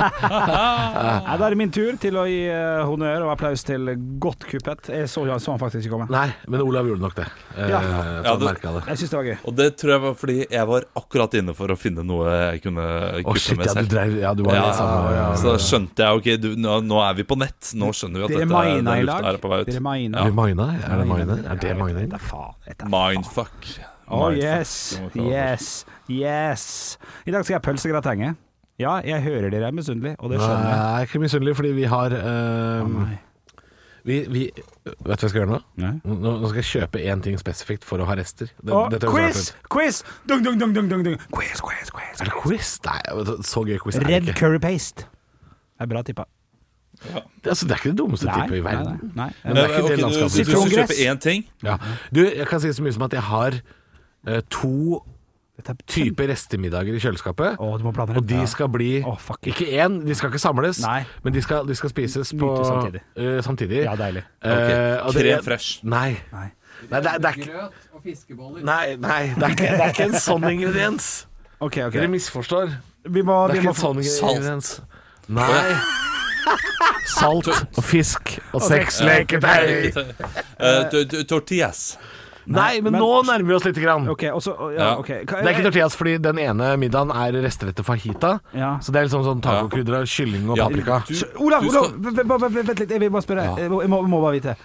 [SPEAKER 3] Nei, Da er det min tur til å gi eh, honnør og applaus til godt kuppet. Jeg så, jeg så han faktisk ikke komme.
[SPEAKER 6] Nei, men Olav gjorde nok det. Eh,
[SPEAKER 3] Ja.
[SPEAKER 6] så
[SPEAKER 5] Ja,
[SPEAKER 6] han
[SPEAKER 5] du-
[SPEAKER 6] merket det.
[SPEAKER 3] Jeg syns det var gøy.
[SPEAKER 5] Og det tror jeg var fordi jeg var akkurat inne for å finne noe jeg kunne kutte
[SPEAKER 6] shit,
[SPEAKER 5] med
[SPEAKER 6] ja, du
[SPEAKER 5] selv.
[SPEAKER 6] drev- ja, du var litt
[SPEAKER 5] altså,
[SPEAKER 6] sammen, ja, ja,
[SPEAKER 5] Så da
[SPEAKER 6] ja.
[SPEAKER 5] skjønte jeg ok, du, nå, nå er vi på nett. Nå skjønner vi at
[SPEAKER 3] Dere
[SPEAKER 5] dette
[SPEAKER 3] mina
[SPEAKER 5] den
[SPEAKER 3] i
[SPEAKER 5] lufta
[SPEAKER 3] lag.
[SPEAKER 5] her er på vei ut.
[SPEAKER 3] Dere mina.
[SPEAKER 6] Er
[SPEAKER 5] Ja.
[SPEAKER 6] det Maina? Er det Maina? Er det Maina?
[SPEAKER 3] Det er faen. det er-
[SPEAKER 5] Mindfuck.
[SPEAKER 3] Oh
[SPEAKER 5] Mindfuck.
[SPEAKER 3] yes, yes, yes. I dag skal jeg pølsegratenge. Ja, jeg hører dere er misunnelige, og det
[SPEAKER 6] Nei,
[SPEAKER 3] skjønner jeg.
[SPEAKER 6] jeg er ikke misunnelig, fordi vi har eh, vi, vi, Vet du hva jeg skal gjøre nå? Nå nå skal jeg kjøpe én ting spesifikt for å ha rester. Det-
[SPEAKER 3] Og
[SPEAKER 6] dette høres
[SPEAKER 3] quiz!
[SPEAKER 6] rart ut.
[SPEAKER 3] Quiz! Dung, dung, dung, dung, dung, dung. Quiz, quiz, quiz.
[SPEAKER 6] Er det quiz? Nei, vet du, så gøy quiz er det
[SPEAKER 3] Red
[SPEAKER 6] ikke.
[SPEAKER 3] curry paste. Det er bra tippa.
[SPEAKER 6] Det- Altså, det er ikke det dummeste
[SPEAKER 3] Nei,
[SPEAKER 6] tippet i
[SPEAKER 3] nei,
[SPEAKER 6] verden.
[SPEAKER 3] nei, nei.
[SPEAKER 6] Men det er
[SPEAKER 5] Eh,
[SPEAKER 6] ikke
[SPEAKER 5] ok,
[SPEAKER 6] det
[SPEAKER 5] du, du,
[SPEAKER 6] landskapet.
[SPEAKER 5] du, du,
[SPEAKER 3] Sitrongress.
[SPEAKER 5] kjøper én ting.
[SPEAKER 6] Ja. Du, jeg kan si så mye som at jeg har eh, to
[SPEAKER 3] Dette er
[SPEAKER 6] typer restemiddager i kjøleskapet.
[SPEAKER 3] Å, du må blande
[SPEAKER 6] Og
[SPEAKER 3] det.
[SPEAKER 6] de skal bli
[SPEAKER 3] Å, fuck.
[SPEAKER 6] Ikke én, de skal ikke samles,
[SPEAKER 3] Nei.
[SPEAKER 6] men de skal, de skal spises på
[SPEAKER 3] Nytes samtidig.
[SPEAKER 6] eh, samtidig.
[SPEAKER 3] Ja, deilig.
[SPEAKER 6] Eh, og det-
[SPEAKER 5] Krem fresh.
[SPEAKER 6] Nei. Nei, det, er- det er ikke
[SPEAKER 7] Grøt og fiskeboller.
[SPEAKER 6] Nei, nei det, er ikke, det er ikke en sånn ingrediens.
[SPEAKER 3] Ok, ok.
[SPEAKER 6] Dere misforstår.
[SPEAKER 3] Vi må,
[SPEAKER 6] Det er
[SPEAKER 3] vi
[SPEAKER 6] ikke
[SPEAKER 3] må
[SPEAKER 6] en sånn
[SPEAKER 5] Salt.
[SPEAKER 6] ingrediens. Nei. Salt og fisk og sexleketøy.
[SPEAKER 5] Eh, t- t- Tortillas.
[SPEAKER 6] Nei, men
[SPEAKER 3] men-
[SPEAKER 6] nå nærmer vi oss lite grann.
[SPEAKER 3] Ok, og så
[SPEAKER 5] Ja.
[SPEAKER 3] ja, ok. Hva-
[SPEAKER 6] Det er ikke tortillas, fordi den ene middagen er restetter fajita.
[SPEAKER 3] Ja.
[SPEAKER 6] Så det er liksom sånn tacokrydder av kylling og
[SPEAKER 5] Ja,
[SPEAKER 6] paprika.
[SPEAKER 5] du-
[SPEAKER 3] Olav,
[SPEAKER 5] du
[SPEAKER 3] Olav,
[SPEAKER 5] skal-
[SPEAKER 3] v- v- v- vent litt, jeg vil bare spørre. Jeg, må, jeg må- må bare vite.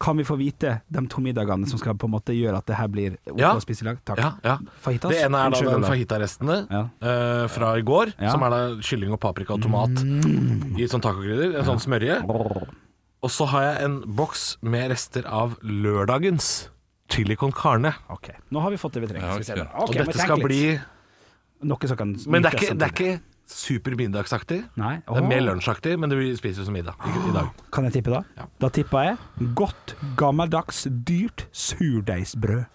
[SPEAKER 3] Kan vi få vite de to middagene som skal på en måte gjøre at det her blir ok
[SPEAKER 6] Ja.
[SPEAKER 3] å spise i lag? Takk.
[SPEAKER 6] Ja, ja.
[SPEAKER 3] Fajitas?
[SPEAKER 6] Det ene er da
[SPEAKER 3] Unnskyld,
[SPEAKER 6] den
[SPEAKER 3] Olav.
[SPEAKER 6] fajitarestene
[SPEAKER 3] Ja.
[SPEAKER 6] eh, fra i går,
[SPEAKER 3] Ja.
[SPEAKER 6] som er da kylling og paprika og tomat
[SPEAKER 3] Mm.
[SPEAKER 6] i sånn tacokrydder, en sånn smørje. Og så har jeg en boks med rester av lørdagens chili con carne.
[SPEAKER 3] Ok, nå har vi fått det vi trenger.
[SPEAKER 5] Ja,
[SPEAKER 3] Skal vi se
[SPEAKER 5] ok.
[SPEAKER 3] nå. Ok,
[SPEAKER 6] og
[SPEAKER 3] men
[SPEAKER 6] dette
[SPEAKER 3] tenk
[SPEAKER 6] skal
[SPEAKER 3] litt.
[SPEAKER 6] bli
[SPEAKER 3] Noe som kan
[SPEAKER 6] Men det er
[SPEAKER 3] nytes
[SPEAKER 6] ikke, det er
[SPEAKER 3] samtidig.
[SPEAKER 6] ikke super middagsaktig.
[SPEAKER 3] Nei.
[SPEAKER 6] Det er mer
[SPEAKER 3] Åh.
[SPEAKER 6] lunsjaktig, men det vi spiser som middag i, i dag.
[SPEAKER 3] Kan jeg tippe da? Da tippa jeg godt, gammeldags, dyrt surdeigsbrød.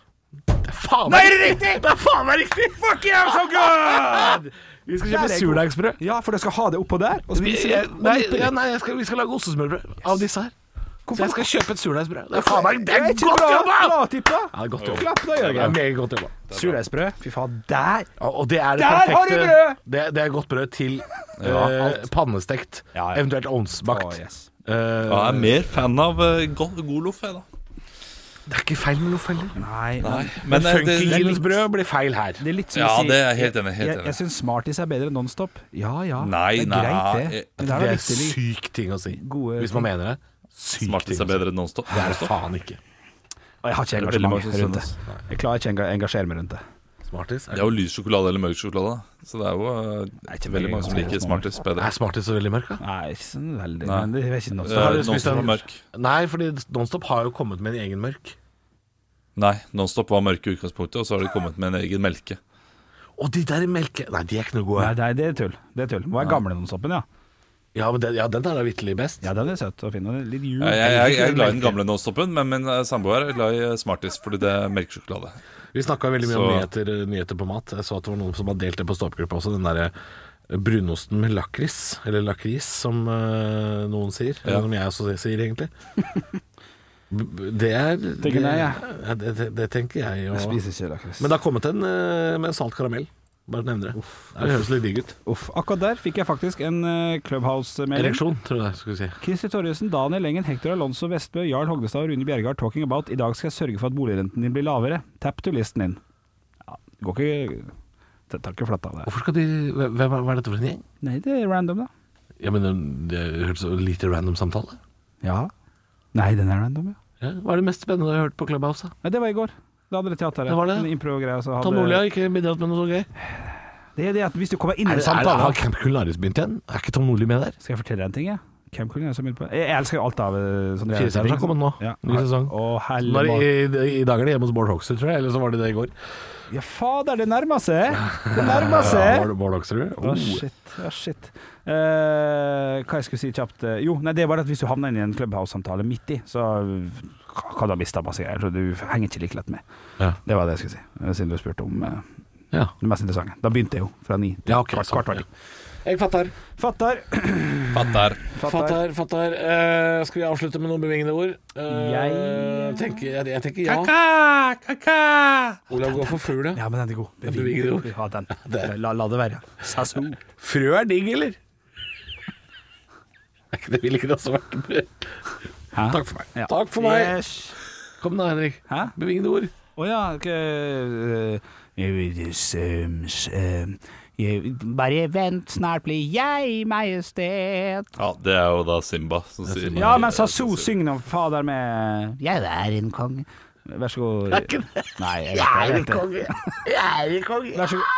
[SPEAKER 6] Faen meg riktig! Det er faen meg riktig! Fuck you, I'm so good! Vi skal
[SPEAKER 3] Der
[SPEAKER 6] kjøpe
[SPEAKER 3] er god.
[SPEAKER 6] surdagsbrød.
[SPEAKER 3] Ja, for du skal ha det oppå der og
[SPEAKER 6] Vi-
[SPEAKER 3] spise
[SPEAKER 6] jeg-
[SPEAKER 3] det.
[SPEAKER 6] Nei, ja, nei jeg skal, vi skal lage ostesmørbrød av disse her. Så jeg skal kjøpe et surdeigsbrød. Det er faen meg det er
[SPEAKER 3] ikke
[SPEAKER 6] godt
[SPEAKER 3] bra,
[SPEAKER 6] jobba!
[SPEAKER 3] bra tippa!
[SPEAKER 6] Ja, det er godt jobba.
[SPEAKER 3] Klapp da,
[SPEAKER 6] Det er
[SPEAKER 3] Jørgen.
[SPEAKER 6] meget godt jobba.
[SPEAKER 3] Surdeigsbrød. Fy faen, der!
[SPEAKER 6] Og og det er det
[SPEAKER 3] Der har
[SPEAKER 6] perfekte
[SPEAKER 3] de brød!
[SPEAKER 6] Det, det er godt brød til eh, pannestekt,
[SPEAKER 3] Ja, ja.
[SPEAKER 6] eventuelt ovnsbakt.
[SPEAKER 3] Å, yes.
[SPEAKER 6] Eh,
[SPEAKER 5] Ja, jeg er mer fan av eh, go- god loff, jeg, da.
[SPEAKER 6] det er ikke feil med noe feil.
[SPEAKER 3] Nei, nei.
[SPEAKER 5] Men, eh, det-
[SPEAKER 6] Funkygillesbrød blir feil her.
[SPEAKER 3] Det er litt som
[SPEAKER 5] Ja,
[SPEAKER 3] å si
[SPEAKER 5] det er jeg helt enig.
[SPEAKER 3] Jeg,
[SPEAKER 5] Helt
[SPEAKER 3] jeg
[SPEAKER 5] enig.
[SPEAKER 3] syns Smarties er bedre enn Nonstop. Ja ja,
[SPEAKER 5] Nei,
[SPEAKER 3] det er
[SPEAKER 5] nei, eh,
[SPEAKER 3] greit det.
[SPEAKER 5] jeg-
[SPEAKER 3] Men
[SPEAKER 6] Det
[SPEAKER 3] der
[SPEAKER 6] er
[SPEAKER 3] var
[SPEAKER 6] en
[SPEAKER 3] vitterlig-
[SPEAKER 6] syk ting å si.
[SPEAKER 3] Gode-
[SPEAKER 6] Hvis man mener det. Syk
[SPEAKER 5] Smartis
[SPEAKER 6] ting
[SPEAKER 5] er
[SPEAKER 6] å si.
[SPEAKER 5] bedre enn nonstop.
[SPEAKER 6] liksom. Det er det faen ikke.
[SPEAKER 3] Og jeg har ikke
[SPEAKER 5] Det er veldig mange
[SPEAKER 3] engasjement
[SPEAKER 5] som
[SPEAKER 3] rundt det.
[SPEAKER 5] synes.
[SPEAKER 3] Jeg klarer ikke å enga- engasjere meg rundt det.
[SPEAKER 6] Smarties
[SPEAKER 5] Det er jo lys sjokolade eller mørk sjokolade. da. Så det er jo eh,
[SPEAKER 3] ikke
[SPEAKER 5] veldig mange som
[SPEAKER 3] mye,
[SPEAKER 5] liker
[SPEAKER 3] ganske mange.
[SPEAKER 5] Smartis bedre.
[SPEAKER 6] Er Smarties så veldig mørk, da?
[SPEAKER 3] Nei, ikke sånn veldig
[SPEAKER 5] Nei.
[SPEAKER 3] Men det er ikke noe
[SPEAKER 5] Eh,
[SPEAKER 3] så-
[SPEAKER 6] du spist
[SPEAKER 5] Nonstop
[SPEAKER 6] den?
[SPEAKER 5] var mørk.
[SPEAKER 6] Nei, fordi Nonstop har jo kommet med en egen mørk.
[SPEAKER 5] Nei, Nonstop var mørk i utgangspunktet, og så har de kommet med en egen melke.
[SPEAKER 6] Og de der i melke... Nei, de er ikke noe
[SPEAKER 5] Eh,
[SPEAKER 6] gode.
[SPEAKER 3] Nei, nei, det er tull. Det er tull. Må være gamle Nonstopen, ja.
[SPEAKER 6] Ja, men den, ja, den der er vitterlig best.
[SPEAKER 3] Ja, den er søt og fin. og Litt jul.
[SPEAKER 5] Jeg, jeg, jeg, jeg er glad i den
[SPEAKER 3] Melke.
[SPEAKER 5] gamle Nonstopen, men min eh, samboer er glad i eh, Smartis fordi det er melkesjokolade.
[SPEAKER 6] Vi snakka veldig mye om
[SPEAKER 5] Så-
[SPEAKER 6] nyheter, nyheter på mat. Jeg så at det var noen som hadde delt det på ståpgruppa også, den derre eh, brunosten med lakris. Eller lakris, som eh, noen sier.
[SPEAKER 5] Ja.
[SPEAKER 6] Eller som jeg også sier, egentlig. B- b- Det er det,
[SPEAKER 3] Tenker jeg,
[SPEAKER 6] ja, det, det, det tenker jeg jo.
[SPEAKER 3] Jeg spiser ikke lakris.
[SPEAKER 6] Men det har kommet en eh, med salt karamell. Bare nevner det. Det høres litt digg ut.
[SPEAKER 3] Uff, akkurat der fikk jeg faktisk en eh, Clubhouse-melding.
[SPEAKER 6] Ereksjon, tror jeg jeg skulle si.
[SPEAKER 3] Christer Torjussen, Daniel Engen, Hector Alonso, Vestbø, Jarl Hognestad og Rune Bjergard talking about I dag skal jeg sørge for at boligrenten din blir lavere. Tap to listen din. Ja, det går ikke Det tar ikke flatt av det.
[SPEAKER 6] Hvorfor skal de Hvem er, hva er dette for en gjeng?
[SPEAKER 3] Nei, det er random, da.
[SPEAKER 6] Jeg mener, eh, det hørtes ut som en lite random samtale.
[SPEAKER 3] Ja. Nei, den er random, ja.
[SPEAKER 6] Ja, hva er det mest spennende du har hørt på Clubhouse? da?
[SPEAKER 3] Nei, det var i går. Da hadde det teateret.
[SPEAKER 6] Det var det.
[SPEAKER 3] En impro-greie. så hadde-
[SPEAKER 6] Tom Ole har ikke bidratt med noe så gøy.
[SPEAKER 3] Det er det at hvis du kommer inn i
[SPEAKER 6] Er
[SPEAKER 3] en
[SPEAKER 6] det, er det,
[SPEAKER 3] samtale
[SPEAKER 6] har Camp Culinaris begynt igjen? Er ikke Tom Nordli med der?
[SPEAKER 3] Skal jeg fortelle deg en ting, jeg? Camp Cullen er så mye på Jeg elsker jo alt av eh, sånne
[SPEAKER 6] Firestjerneren har kommet nå.
[SPEAKER 3] Ja.
[SPEAKER 6] Ny sesong.
[SPEAKER 3] Å,
[SPEAKER 6] Nå er det,
[SPEAKER 3] helvete.
[SPEAKER 6] i, I dag er det hjemme hos Bård Hoksrud, tror jeg. Eller så var det det i går.
[SPEAKER 3] Ja, fader, det nærmer seg! Det nærmer
[SPEAKER 6] Ja, Oh.
[SPEAKER 3] seg!
[SPEAKER 6] Bård- Bård Hoksrud.
[SPEAKER 3] Å, shit. Ja, shit. Eh, hva jeg skulle si kjapt eh, Jo, nei, det er bare at hvis du havner inn i en Clubhouse-samtale midt i, så k- kan du ha mista masse greier. Så du henger ikke like lett med.
[SPEAKER 6] Ja.
[SPEAKER 3] Det var det jeg skulle si, eh, siden du spurte om eh,
[SPEAKER 6] Ja.
[SPEAKER 3] det mest interessante. Da begynte jeg jo, fra ni til
[SPEAKER 6] Ja, ok,
[SPEAKER 3] kvart,
[SPEAKER 6] sant,
[SPEAKER 3] kvart, kvart.
[SPEAKER 6] Jeg fatter.
[SPEAKER 3] Fattar.
[SPEAKER 5] Fattar.
[SPEAKER 3] Fattar.
[SPEAKER 6] Fattar, fattar. Eh, skal vi avslutte med noen bevingende ord? Eh,
[SPEAKER 3] Jeg-
[SPEAKER 6] tenker, jeg, jeg tenker ja.
[SPEAKER 5] Kaka, kaka.
[SPEAKER 6] Olav går for fugl, ja.
[SPEAKER 3] Ah, Ja, men den er god.
[SPEAKER 6] Bevingende ord.
[SPEAKER 3] Ja, den. La, la det være. Sasu.
[SPEAKER 6] Frø er digg, eller? Er ikke det ville ikke det også vært brød?
[SPEAKER 3] Hæ?
[SPEAKER 6] Takk for meg.
[SPEAKER 3] Ja.
[SPEAKER 6] Takk for meg.
[SPEAKER 3] Yes.
[SPEAKER 6] Kom da, Henrik.
[SPEAKER 3] Hæ?
[SPEAKER 6] Bevingende ord.
[SPEAKER 3] Å ja, ok, eh, jeg vil just, um, s- um, jeg, Bare vent, snart blir jeg majestet.
[SPEAKER 5] Ja, det er jo da Simba som sier
[SPEAKER 3] Ja, men Sasu, syng nå, fader med Jeg er en konge. Vær så god. Jeg er ikke det. Nei, jeg er ikke konge. Jeg er konge. Vær så god.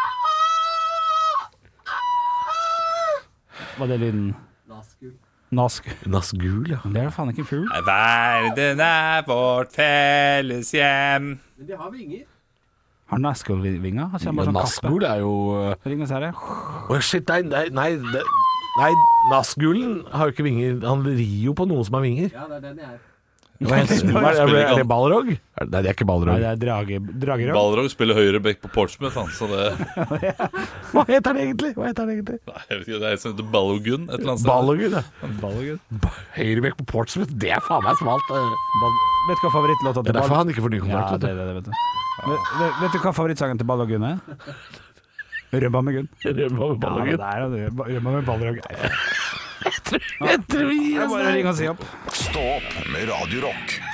[SPEAKER 3] Var det lyden? Nask.
[SPEAKER 6] Nasgul, ja.
[SPEAKER 3] Men Det er jo faen ikke en fugl.
[SPEAKER 5] Verden er vårt felles hjem.
[SPEAKER 7] Men de har vinger.
[SPEAKER 3] Har Naskul-vinger? Har ikke han bare sånn kappe?
[SPEAKER 6] Nasgul er jo eh,
[SPEAKER 3] Ringnes herre?
[SPEAKER 6] Å shit, nei, nei, nei, det- nei Nasgulen har jo ikke vinger. Han rir jo på noe som har vinger.
[SPEAKER 7] Ja, det er den jeg er.
[SPEAKER 6] Hva heter det? Er, det- er det Balrog? Er det- Nei, det er ikke
[SPEAKER 3] Nei,
[SPEAKER 6] Balrog.
[SPEAKER 3] det er drage, dragerøv.
[SPEAKER 5] Balrog spiller høyreback på Portsmouth, han, så det
[SPEAKER 6] Hva heter han egentlig? Hva heter han egentlig?
[SPEAKER 5] Nei, jeg vet ikke, det er en som heter Ballogun et eller annet sted.
[SPEAKER 6] Balrogen, ja.
[SPEAKER 3] Ballergutt.
[SPEAKER 6] Høyrebekk på Portsmouth, det er faen meg smalt. eh.
[SPEAKER 3] Vet du hva favorittlåta
[SPEAKER 6] Det
[SPEAKER 3] til
[SPEAKER 6] er derfor
[SPEAKER 3] Ball...
[SPEAKER 6] han ikke får ny kontrakt.
[SPEAKER 3] Ja,
[SPEAKER 6] vet du.
[SPEAKER 3] det, det, det, vet, du. Vet, vet- vet du hva favorittsangen til Ball og Gunn er? Rømma med Gunn. Ja, det er det. Rømma med Ball og Gunn.
[SPEAKER 6] Jeg tror vi
[SPEAKER 3] Jeg
[SPEAKER 6] gir oss
[SPEAKER 3] bare
[SPEAKER 6] der.
[SPEAKER 3] ringer og sier opp.
[SPEAKER 1] Stå opp med Radio Rock.